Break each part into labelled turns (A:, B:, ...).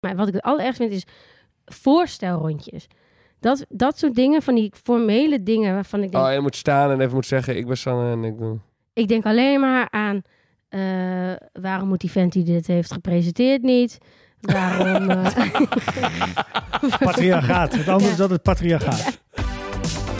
A: Maar wat ik het allerergst vind is voorstelrondjes. Dat, dat soort dingen, van die formele dingen waarvan ik denk...
B: Oh, en je moet staan en even moet zeggen, ik ben Sanne en ik doe...
A: Ik denk alleen maar aan eh, waarom moet die vent die dit heeft gepresenteerd niet? Waarom... eh,
C: Patriarchaat. Het andere
A: Ja.
C: is dat het patriarchaat.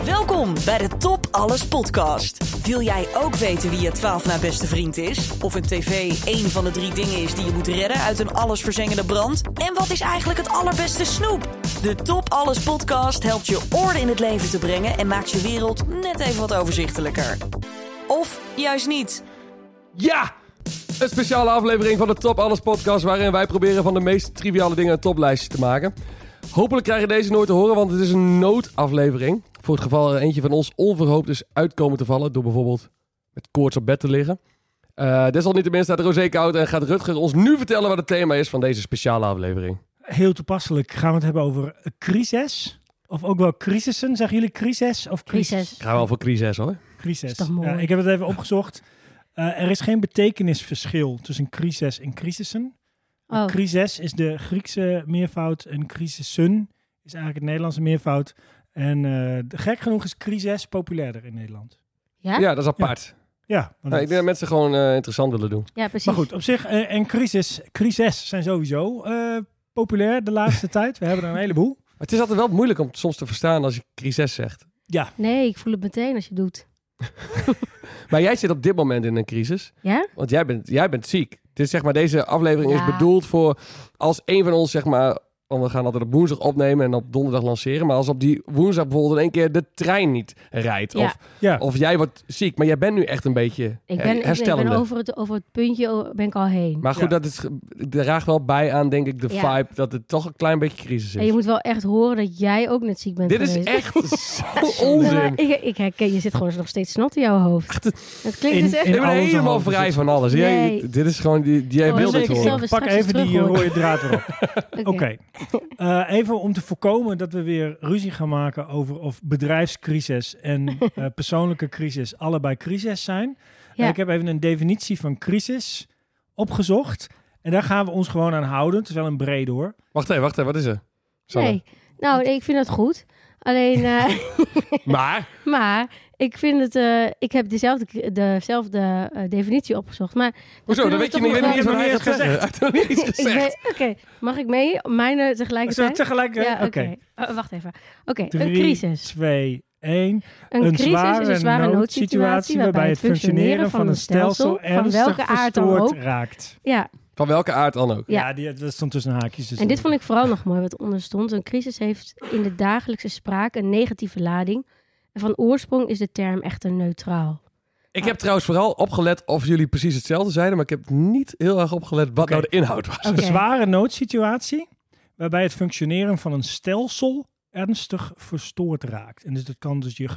D: Welkom bij de Top Alles podcast. Wil jij ook weten wie je 12 na beste vriend is? Of een tv één van de drie dingen is die je moet redden uit een allesverzengende brand? En wat is eigenlijk het allerbeste snoep? De Top Alles podcast helpt je orde in het leven te brengen en maakt je wereld net even wat overzichtelijker. Of juist niet.
B: Ja! Een speciale aflevering van de Top Alles podcast... waarin wij proberen van de meest triviale dingen een toplijstje te maken. Hopelijk krijg je deze nooit te horen, want het is een noodaflevering. Voor het geval er eentje van ons onverhoopt is uitkomen te vallen... door bijvoorbeeld met koorts op bed te liggen. Eh desalniettemin staat Rosé koud en gaat Rutger ons nu vertellen... wat het thema is van deze speciale aflevering.
C: Heel toepasselijk gaan we het hebben over crisis. Of ook wel crisissen. Zeggen jullie crisis of
A: crisis.
B: Gaan we al voor crisis hoor.
C: Crisis.
A: Is toch mooi?
C: Ja, ik heb het even opgezocht. Eh, er is geen betekenisverschil tussen crisis en crisissen.
A: Oh,
C: Crisis is de Griekse meervoud en crisissen is eigenlijk het Nederlandse meervoud. En eh, de- gek genoeg is crisis populairder in Nederland.
A: ja?
B: Ja, dat is apart.
C: Ja, want
B: Nou,
C: dat-
B: ik denk dat mensen gewoon eh, interessant willen doen.
A: Ja, precies.
C: maar goed, op zich. eh, en crisis, crisis zijn sowieso eh, populair de laatste tijd. We hebben er een heleboel.
B: Maar het is altijd wel moeilijk om het soms te verstaan als je crisis zegt.
A: Nee, ik voel het meteen als je het doet.
B: Maar jij zit op dit moment in een crisis.
A: Ja?
B: Want jij bent, jij bent ziek. Dus zeg maar, deze aflevering
A: Ja.
B: is bedoeld voor als een van ons, zeg maar. Want we gaan altijd op woensdag opnemen en op donderdag lanceren. Maar als op die woensdag bijvoorbeeld in één keer de trein niet rijdt.
A: Ja.
B: Of,
C: Ja.
B: of jij wordt ziek. Maar jij bent nu echt een beetje
A: Ik
B: her-
A: ben, ik ben- ik
B: herstellende.
A: ben over, het, over het puntje o- ben ik al heen.
B: Maar goed,
C: Ja.
B: dat is, ge- draagt wel bij aan, denk ik, de
A: Ja.
B: vibe dat het toch een klein beetje crisis
A: en je
B: is.
A: moet wel echt horen dat jij ook net ziek bent
B: Dit is
A: geweest.
B: echt zo
A: Ja, maar
B: onzin.
A: ik, ik herken, je zit gewoon nog steeds snot in jouw hoofd. Het klinkt
C: In-
A: dus echt...
C: in
B: Ik ben
C: alles
B: helemaal
C: over
B: vrij
C: zit.
B: van alles. Jij-
A: Nee.
B: dit is gewoon, die- jij
A: Oh,
B: wil
A: dat
B: dit
A: is ik
B: horen.
A: zelf
C: Ik
A: eens
C: pak
A: straks
C: even die eh,
A: terughoren.
C: rode draad erop.
A: Oké.
C: Oké. Eh, even om te voorkomen dat we weer ruzie gaan maken over of bedrijfscrisis en eh, persoonlijke crisis allebei crisis zijn.
A: Ja.
C: En ik heb even een definitie van crisis opgezocht. En daar gaan we ons gewoon aan houden. Het is wel een brede hoor.
B: Wacht even, wacht even. Wat is er? Sanne.
A: Nee, nou, nee, ik vind dat goed. Alleen, eh,
B: Maar,
A: maar ik vind het... eh, ik heb dezelfde, dezelfde eh, definitie opgezocht, maar...
B: hoezo?
A: kunnen
B: Dan
A: we
B: weet je
A: toch
B: niet,
A: nog
B: weet niet eens
A: wel-
B: wat hij
C: Ik
B: gaat
C: heb nog
B: zeggen. Hij
C: niet
B: heeft nog niet eens
A: Ik
B: gezegd.
A: weet- Oké, mag ik mee? Mijne
C: Zullen we
A: tegelijkertijd?
C: tegelijk...
A: Ja, oké.
C: Oké.
A: Eh, wacht even. Oké, een
C: Drie,
A: crisis.
C: twee, één.
A: Een, crisis is een zware noodsituatie waarbij het functioneren van een stelsel van
C: ernstig
A: welke aard dan
C: verstoord
A: ook.
C: raakt.
A: Ja,
B: Van welke aard dan ook.
A: Ja.
C: Ja, die, dat stond tussen haakjes. dus
A: en dit
C: dat-
A: vond ik vooral nog mooi wat onder stond. Een crisis heeft in de dagelijkse spraak een negatieve lading. En van oorsprong is de term echter neutraal.
B: Ik heb trouwens vooral opgelet of jullie precies hetzelfde zeiden, maar ik heb niet heel erg opgelet wat nou de inhoud was.
A: Oké.
C: Een zware noodsituatie waarbij het functioneren van een stelsel ernstig verstoord raakt. En dus dat kan dus je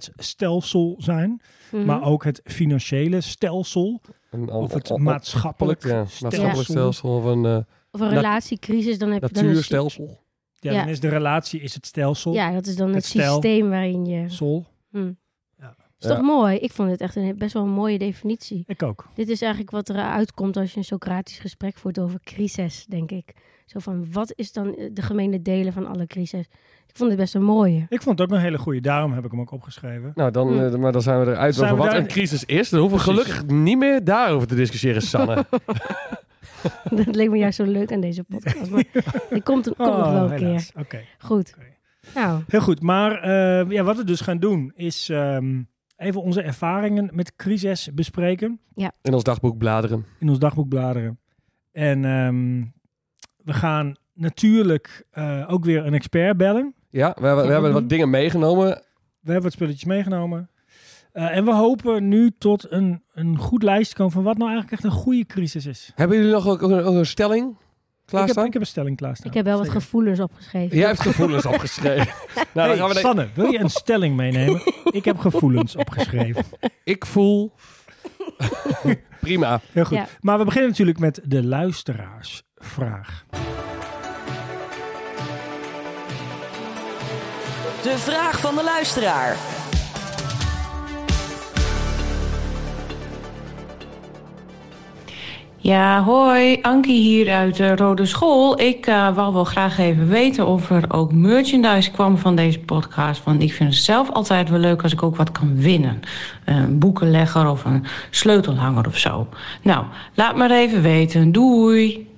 C: gezondheidsstelsel zijn,
A: Mhm.
C: maar ook het financiële stelsel
B: Een
C: of het
B: on- on-
C: maatschappelijk
B: ja, maatschappelijk
C: stelsel.
B: stelsel of een eh,
A: Of een
B: nat-
A: relatiecrisis, dan heb je dan een sy-
B: natuurstelsel.
C: Ja,
A: Ja.
C: dan is de relatie is het stelsel.
A: Ja, dat is dan het,
C: Het stijl.
A: systeem waarin je...
C: Sol.
A: is toch
B: Ja.
A: mooi? Ik vond het echt een, best wel een mooie definitie.
C: Ik ook.
A: Dit is eigenlijk wat eruit komt als je een Socratisch gesprek voert over crisis, denk ik. Zo van, wat is dan eh, de gemene delen van alle crisis? Ik vond het best een mooie.
C: Ik vond het ook een hele goede, daarom heb ik hem ook opgeschreven.
B: Nou, dan,
A: Hm.
B: eh, maar dan zijn we eruit
C: Zijn
B: over
C: we
B: wat
C: daar-
B: een crisis is. Dan hoeven we
C: Precies.
B: gelukkig niet meer daarover te discussiëren, Sanne.
A: Dat leek me juist zo leuk aan deze podcast. Maar die komt, een, komt nog wel een keer.
C: Oh, helaas. Oké,
A: Goed.
C: Oké.
A: Nou,
C: heel goed. Maar eh, ja, wat we dus gaan doen is ehm, even onze ervaringen met crisis bespreken.
B: In ons dagboek bladeren.
C: in ons dagboek bladeren. En ehm, we gaan natuurlijk eh, ook weer een expert bellen.
B: Ja, we, hebben- we
A: Ja,
B: hebben
C: doen.
B: wat dingen meegenomen.
C: We hebben wat spulletjes meegenomen. Eh, en we hopen nu tot een, een goed lijst te komen van wat nou eigenlijk echt een goede crisis is.
B: Hebben jullie nog ook ook een, ook een stelling
C: Ik heb,
B: klaarstaan?
C: ik heb een stelling klaarstaan.
A: ik heb wel wat
C: Zeker.
A: gevoelens opgeschreven.
B: Jij hebt gevoelens opgeschreven. nou, dan
C: Hey,
B: gaan we de-
C: Sanne, wil je een stelling meenemen? Ik heb gevoelens opgeschreven.
B: Ik voel... Prima.
C: Heel goed.
A: Ja.
C: Maar we beginnen natuurlijk met de luisteraarsvraag.
D: De vraag van de luisteraar.
E: Ja, hoi, Ankie hier uit de Rode School. Ik eh, wou wel graag even weten of er ook merchandise kwam van deze podcast. Want ik vind het zelf altijd wel leuk als ik ook wat kan winnen. Een boekenlegger of een sleutelhanger of zo. Nou, laat maar even weten. Doei!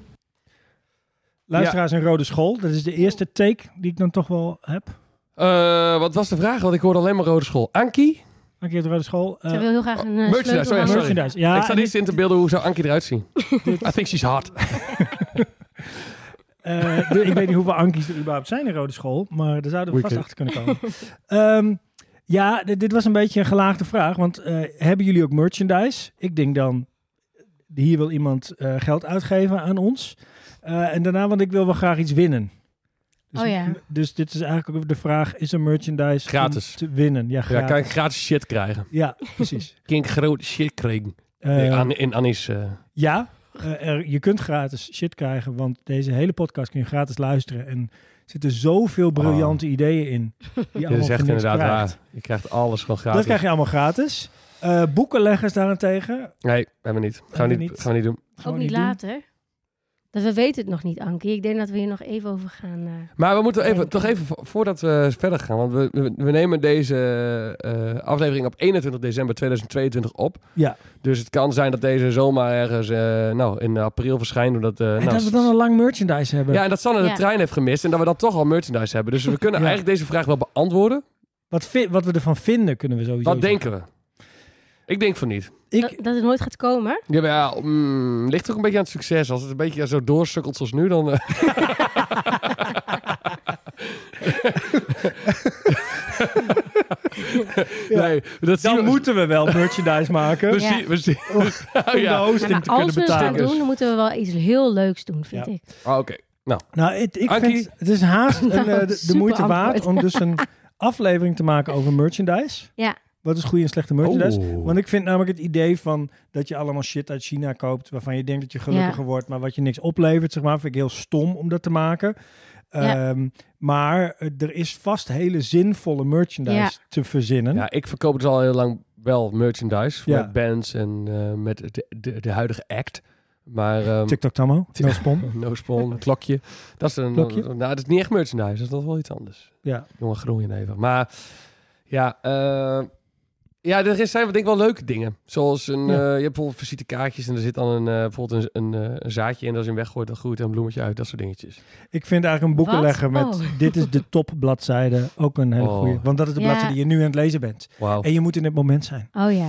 C: Luisteraars in Rode School, dat is de eerste take die ik dan toch wel heb.
B: Eh, wat was de vraag? Want ik hoorde alleen maar rode school. Ankie?
C: Ankie uit de Rode School. eh,
A: Ze wil heel graag een eh,
B: merchandise,
A: sleutel
B: sorry,
A: aan-
B: sorry.
C: merchandise. Ja,
B: ik sta
C: en
B: niet in te beelden hoe zou Ankie eruit zien. I think she's hot.
C: Eh, de- ik weet niet hoeveel Ankies er überhaupt zijn in Rode School, maar daar zouden we vast
B: Wicked.
C: achter kunnen komen. Ehm, ja, dit, dit was een beetje een gelaagde vraag, want eh, hebben jullie ook merchandise? Ik denk dan, hier wil iemand eh, geld uitgeven aan ons. Eh, en daarna, want ik wil wel graag iets winnen. Dus,
A: Oh ja.
C: dus dit is eigenlijk ook de vraag, is er merchandise om
B: Gratis.
C: te winnen? Ja,
B: Ja,
C: gratis. Ja,
B: kan ik gratis shit krijgen.
C: precies.
B: Kan ik groot shit krijgen.
C: Eh,
B: aan, in Annie's... eh,
C: Ja, eh, er- je kunt gratis shit krijgen, want deze hele podcast kun je gratis luisteren. En er zitten zoveel briljante ideeën in. Die
B: Dit is echt inderdaad
C: krijgt.
B: waar. Je krijgt alles gewoon
C: Dat
B: gratis.
C: krijg je allemaal gratis. Eh, boekenleggers daarentegen.
B: Nee, hebben we niet. Gaan we
C: Hebben
B: niet,
C: we niet.
B: Gaan we niet doen.
A: Ook
C: gewoon
A: niet
C: doen.
A: later. Dat we weten het nog niet, Ankie. Ik denk dat we hier nog even over gaan. eh,
B: Maar we moeten even,
A: Nee.
B: toch even vo- voordat we verder gaan. Want we, we, we nemen deze eh, aflevering op 21 december 2022 op.
C: Ja.
B: Dus het kan zijn dat deze zomaar ergens eh, nou, in april verschijnt. Omdat, eh,
C: En
B: nou,
C: dat we dan al lang merchandise hebben.
B: ja, en dat Sanne de
A: Ja.
B: trein heeft gemist. En dat we dan toch al merchandise hebben. Dus we kunnen
C: Ja.
B: eigenlijk deze vraag wel beantwoorden.
C: Wat, vi- wat we ervan vinden kunnen we sowieso.
B: Wat denken we? Ik denk van niet.
C: zeggen. Ik,
A: dat, dat het nooit gaat komen.
B: Ja, maar ja mm, ligt ook een beetje aan het succes. Als het een beetje zo doorsukkelt zoals nu, dan... eh,
C: Ja.
B: Nee, dat zien
C: dan
B: we-
C: moeten we wel merchandise maken.
B: We
A: Ja.
B: zien, we zien. Dus- Oh,
C: Om
B: ja.
C: de hosting
A: maar
C: te kunnen
A: als we het gaan
C: betalen.
B: betalen.
A: doen, dan moeten we wel iets heel leuks doen, vind
C: Ja.
A: ik.
B: Ah, Oké.
C: Nou, het, ik
B: Ankie?
C: vind het is haast een, eh, de- de,
A: super
C: moeite waard
A: antwoord.
C: om dus een aflevering te maken over merchandise.
A: Ja.
C: Wat is goede en slechte merchandise?
B: Oh.
C: Want ik vind namelijk het idee van dat je allemaal shit uit China koopt, waarvan je denkt dat je gelukkiger
A: Ja.
C: wordt, maar wat je niks oplevert, zeg maar, vind ik heel stom om dat te maken.
A: Ja.
C: Ehm, maar eh, er is vast hele zinvolle merchandise
A: Ja.
C: te verzinnen.
B: Ja, ik verkoop dus al heel lang wel merchandise.
C: Ja.
B: Met bands en eh, met de, de, de huidige act. Maar ehm,
C: TikTok Tammo,
B: Tik-
C: no spon.
B: no spawn, een klokje. Dat is een,
C: Klokje?
B: Nou, dat is niet echt merchandise. Dat is nog wel iets anders.
C: Ja.
B: Jongen, groeien even. Maar ja, eh, ja, er is- zijn wat denk ik wel leuke dingen. Zoals een,
C: Ja.
B: eh, je hebt bijvoorbeeld visitekaartjes en er zit dan een, eh, bijvoorbeeld een, een, eh, een zaadje in. Als je hem weggooit, dan groeit er een bloemetje uit. Dat soort dingetjes.
C: Ik vind eigenlijk een boekenlegger
A: Wat?
C: met
A: Oh.
C: dit is de topbladzijde ook een hele
B: Oh.
C: goede. Want dat is de
A: Ja.
C: bladzijde die je nu aan het lezen bent.
B: Wauw.
C: En je moet in het moment zijn.
A: Oh ja.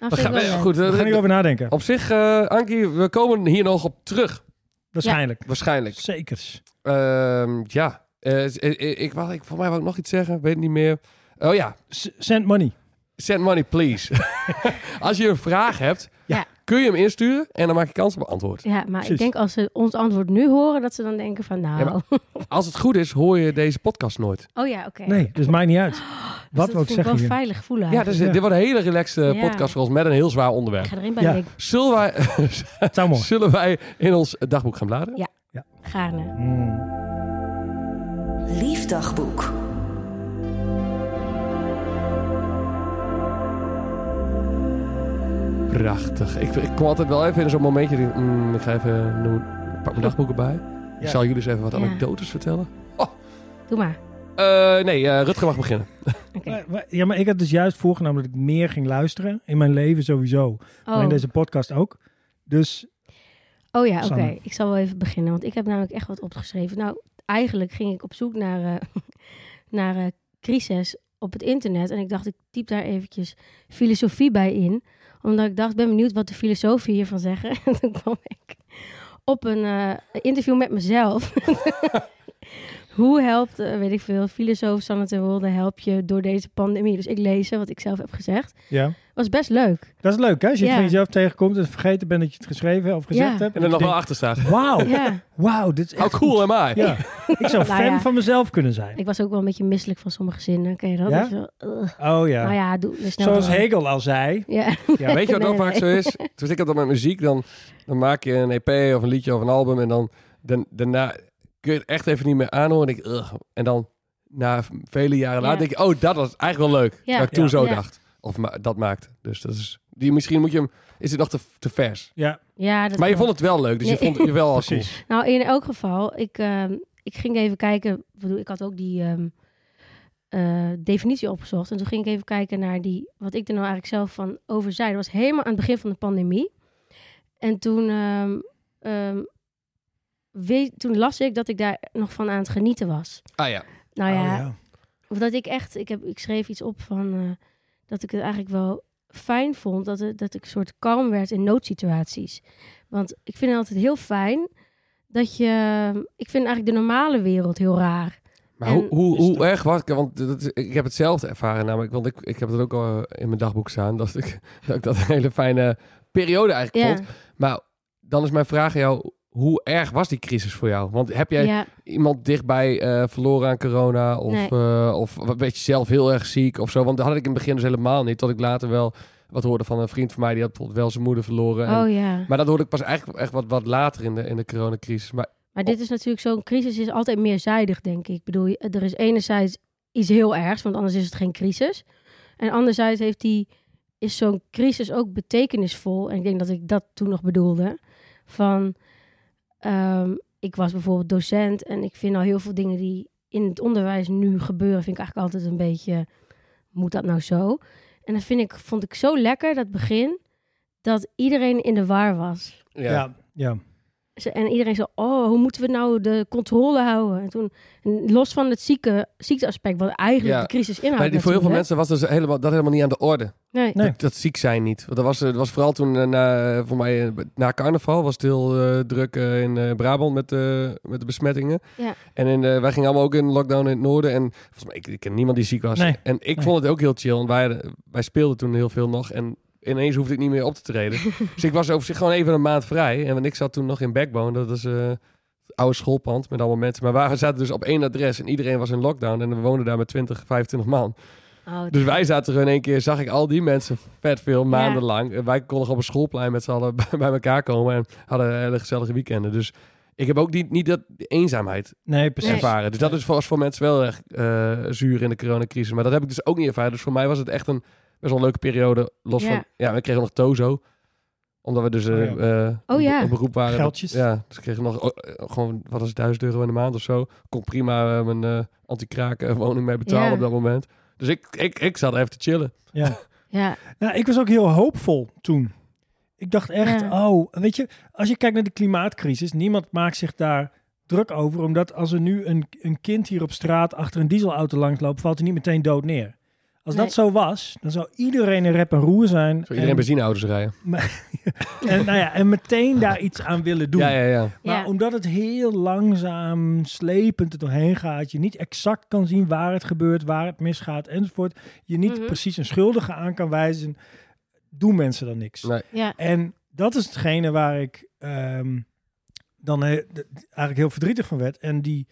A: Nou,
B: We
A: vind ik
B: gaan-
A: wel
B: eh,
A: leuk.
B: Goed, eh,
C: Daar ga ik over nadenken.
B: op zich, eh, Ankie, we komen hier nog op terug.
C: Waarschijnlijk.
B: Waarschijnlijk.
C: Zekers.
B: Ehm, ja, Eh, z- eh, eh, ik, wou, ik, voor mij wou ik nog iets zeggen, weet het niet meer. Oh ja,
C: S- Send money.
B: send money please. Als je een vraag hebt,
A: Ja.
B: kun je hem insturen en dan maak je kans op een antwoord.
A: Ja, maar
C: Precies.
A: ik denk als ze ons antwoord nu horen, dat ze dan denken van nou...
B: Ja, Als het goed is, hoor je deze podcast nooit.
A: oh ja, oké.
C: Nee, dus maakt niet uit.
A: Dus
C: Wat
A: dat
C: we ook
A: vind ik
C: zeggen
A: wel
C: hier.
A: veilig voelen.
B: Ja,
A: eigenlijk.
B: dus, eh, dit wordt een hele relaxte
A: Ah, Ja.
B: podcast voor ons met een heel zwaar
A: Ik
B: onderwerp.
A: ga erin bij
C: Ja.
A: ik
B: Zullen wij,
C: Zou mooi.
B: zullen wij in ons dagboek gaan bladeren?
A: Ja. gaarne.
C: Mm.
D: Liefdagboek.
B: Prachtig. Ik, ik kwam altijd wel even in zo'n momentje. die- mm, ik ga even, noem, ik pak mijn dagboeken bij. Ik
C: Ja.
B: zal jullie eens even wat
A: Ja.
B: anekdotes vertellen.
A: Doe maar.
B: Eh, nee, eh, Rutger mag beginnen.
A: Oké.
C: Maar- maar- Ja, maar ik had dus juist voorgenomen dat ik meer ging luisteren. In mijn leven sowieso. Maar
A: Oh.
C: in deze podcast ook. Dus
A: oh ja, oké.
C: Sanne.
A: Ik zal wel even beginnen, want ik heb namelijk echt wat opgeschreven. Nou, eigenlijk ging ik op zoek naar, eh, naar eh, crisis op het internet. En ik dacht, ik typ daar eventjes filosofie bij in. Omdat ik dacht, ik ben benieuwd wat de filosofen hiervan zeggen. En toen kwam ik op een eh, interview met mezelf. Hoe helpt, eh, weet ik veel, filosoof Sanne ten Wolde help je door deze pandemie? Dus ik lees eh, wat ik zelf heb gezegd.
C: ja.
A: Was best leuk.
C: Dat is leuk hè. Als je het
A: Ja.
C: van jezelf tegenkomt en vergeten bent dat je het geschreven of gezegd
A: Ja.
C: hebt.
B: En er nog
C: je
B: wel achter staat.
C: denkt, Wauw,
A: Ja.
C: wauw, dit is
B: How
C: echt
B: cool
C: goed.
B: am I?
C: Ja. Ik zou
A: Nou
C: fan
A: ja.
C: van mezelf kunnen zijn.
A: Ik was ook wel een beetje misselijk van sommige zinnen. Ken je dat?
C: Ja?
A: Dat je zo, ugh.
C: Oh ja.
A: Nou ja, doe snel.
C: Zoals
A: door.
C: Hegel al zei.
A: Ja.
B: Ja, weet je wat
A: Nee,
B: ook vaak
A: nee.
B: zo is? Toen ik dat dan met muziek, dan, dan maak je een EP of een liedje of een album en dan dan- daarna kun je het echt even niet meer aanhoren. En, ik, ugh. en dan na vele jaren
A: Ja.
B: later denk je, oh, dat was eigenlijk wel leuk.
A: Ja.
B: Dat ik toen
C: Ja.
B: zo
A: Ja.
B: dacht. Of ma- dat maakte. Dus dat is Die misschien moet je hem... Is het nog te, te vers?
C: Ja,
A: Ja, dat
B: Maar je
A: klopt.
B: vond het wel leuk, dus je
A: Nee.
B: vond het wel al cool.
C: precies.
A: Nou, in elk geval, ik, ehm, ik ging even kijken. Ik bedoel, ik had ook die ehm, eh, definitie opgezocht. En toen ging ik even kijken naar die, wat ik er nou eigenlijk zelf van over zei. Dat was helemaal aan het begin van de pandemie. En toen, ehm, ehm, weet, toen las ik dat ik daar nog van aan het genieten was.
B: Ah ja.
A: Nou
C: Oh,
A: ja, of dat ik echt, ik, heb, ik schreef iets op van eh, dat ik het eigenlijk wel fijn vond dat, het, dat ik een soort kalm werd in noodsituaties. Want ik vind het altijd heel fijn dat je, ik vind eigenlijk de normale wereld heel raar.
B: Maar
A: En-
B: hoe, hoe,
C: Dus
B: hoe
C: dat-
B: erg was ik? Want dat is- ik heb hetzelfde ervaren namelijk. Want ik, ik heb dat ook al in mijn dagboek staan. Dat ik dat, ik dat een hele fijne periode eigenlijk
A: Ja,
B: vond. Maar dan is mijn vraag aan jou. Hoe erg was die crisis voor jou? Want heb jij
A: ja,
B: iemand dichtbij eh, verloren aan corona? Of,
A: Nee.
B: eh, of weet je zelf heel erg ziek of zo? Want dat had ik in het begin dus helemaal niet. Tot ik later wel wat hoorde van een vriend van mij. Die had bijvoorbeeld wel zijn moeder verloren. En-
A: oh ja.
B: Maar dat hoorde ik pas eigenlijk echt wat, wat later in de, in de coronacrisis. Maar
A: Maar dit is natuurlijk zo'n crisis is altijd meerzijdig, denk ik. Ik bedoel, je- er is enerzijds iets heel ergs, want anders is het geen crisis. En anderzijds heeft die, is zo'n crisis ook betekenisvol. En ik denk dat ik dat toen nog bedoelde. Van, ehm, ik was bijvoorbeeld docent en ik vind al heel veel dingen die in het onderwijs nu gebeuren, vind ik eigenlijk altijd een beetje, moet dat nou zo? En dat vind ik, vond ik zo lekker, dat begin, dat iedereen in de war was.
C: Ja, ja. ja.
A: Ze- En iedereen zo, oh, hoe moeten we nou de controle houden? En toen, en los van het zieke, ziekteaspect, wat eigenlijk
B: Ja.
A: de crisis inhoudt.
B: Maar die, voor heel veel
A: natuurlijk.
B: mensen was dus helemaal, dat helemaal niet aan de orde.
A: Nee.
C: Nee.
B: Dat, dat ziek zijn niet. Want dat was, eh, dat was vooral toen, eh, na, voor mij, eh, na carnaval was het heel eh, druk eh, in eh, Brabant met, eh, met de besmettingen.
A: Ja.
B: En in, eh, wij gingen allemaal ook in lockdown in het noorden. En volgens mij, ik, ik ken niemand die ziek was.
C: Nee.
B: En ik
C: Nee.
B: vond het ook heel chill. Want wij, wij speelden toen heel veel nog. En ineens hoefde ik niet meer op te treden. dus ik was over zich gewoon even een maand vrij. En want ik zat toen nog in Backbone. Dat is... eh, het oude schoolpand met allemaal mensen. Maar we zaten dus op één adres en iedereen was in lockdown. En we woonden daar met 20, 25 man.
A: Oh,
B: Dus wij zaten er in één keer, zag ik al die mensen vet veel, maandenlang. En Wij konden op een schoolplein met z'n allen bij bij elkaar komen en hadden hele gezellige weekenden. Dus ik heb ook niet, niet dat die eenzaamheid
C: Nee, precies.
A: Nee.
B: ervaren. Dus dat is voor, was voor mensen wel erg eh, zuur in de coronacrisis. Maar dat heb ik dus ook niet ervaren. Dus voor mij was het echt een best wel leuke periode. Los
A: Ja.
B: van, ja, we kregen nog Tozo. Omdat we dus eh,
C: Oh
B: eh,
A: Oh ja.
B: op beroep waren.
C: Geldjes.
B: Ja, dus we kregen nog oh, eh, gewoon, wat is het, 1000 euro in de maand of zo. Kon prima eh, mijn eh anti-kraken woning mee betalen
A: Ja.
B: op dat moment. Dus ik, ik, ik zat even te chillen.
C: Ja.
A: ja.
C: Nou, ik was ook heel hoopvol toen. Ik dacht echt,
A: Ja.
C: oh, weet je, als je kijkt naar de klimaatcrisis, niemand maakt zich daar druk over, omdat als er nu een, een kind hier op straat achter een dieselauto langs loopt, valt hij niet meteen dood neer. Als
A: Nee.
C: dat zo was, dan zou iedereen een rep en roer zijn.
B: Zo iedereen
C: en,
B: benzineauto's rijden.
C: en, nou ja, en meteen daar iets aan willen doen.
B: Ja, ja, ja.
A: Ja.
C: Maar omdat het heel langzaam, slepend er doorheen gaat, je niet exact kan zien waar het gebeurt, waar het misgaat enzovoort, je niet
A: Mhm.
C: precies een schuldige aan kan wijzen, doen mensen dan niks.
B: Nee.
A: ja.
C: En dat is hetgene waar ik ehm, dan he- d- eigenlijk heel verdrietig van werd. En die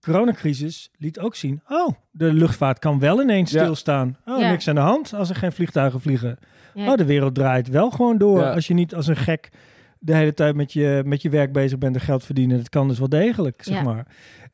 C: coronacrisis liet ook zien, oh, de luchtvaart kan wel ineens
B: Ja.
C: stilstaan. Oh,
A: Ja.
C: niks aan de hand als er geen vliegtuigen vliegen.
A: Ja.
C: Oh, de wereld draait wel gewoon door
B: Ja.
C: als je niet als een gek de hele tijd met je, met je werk bezig bent en geld verdienen. Dat kan dus wel degelijk, zeg
A: Ja.
C: maar.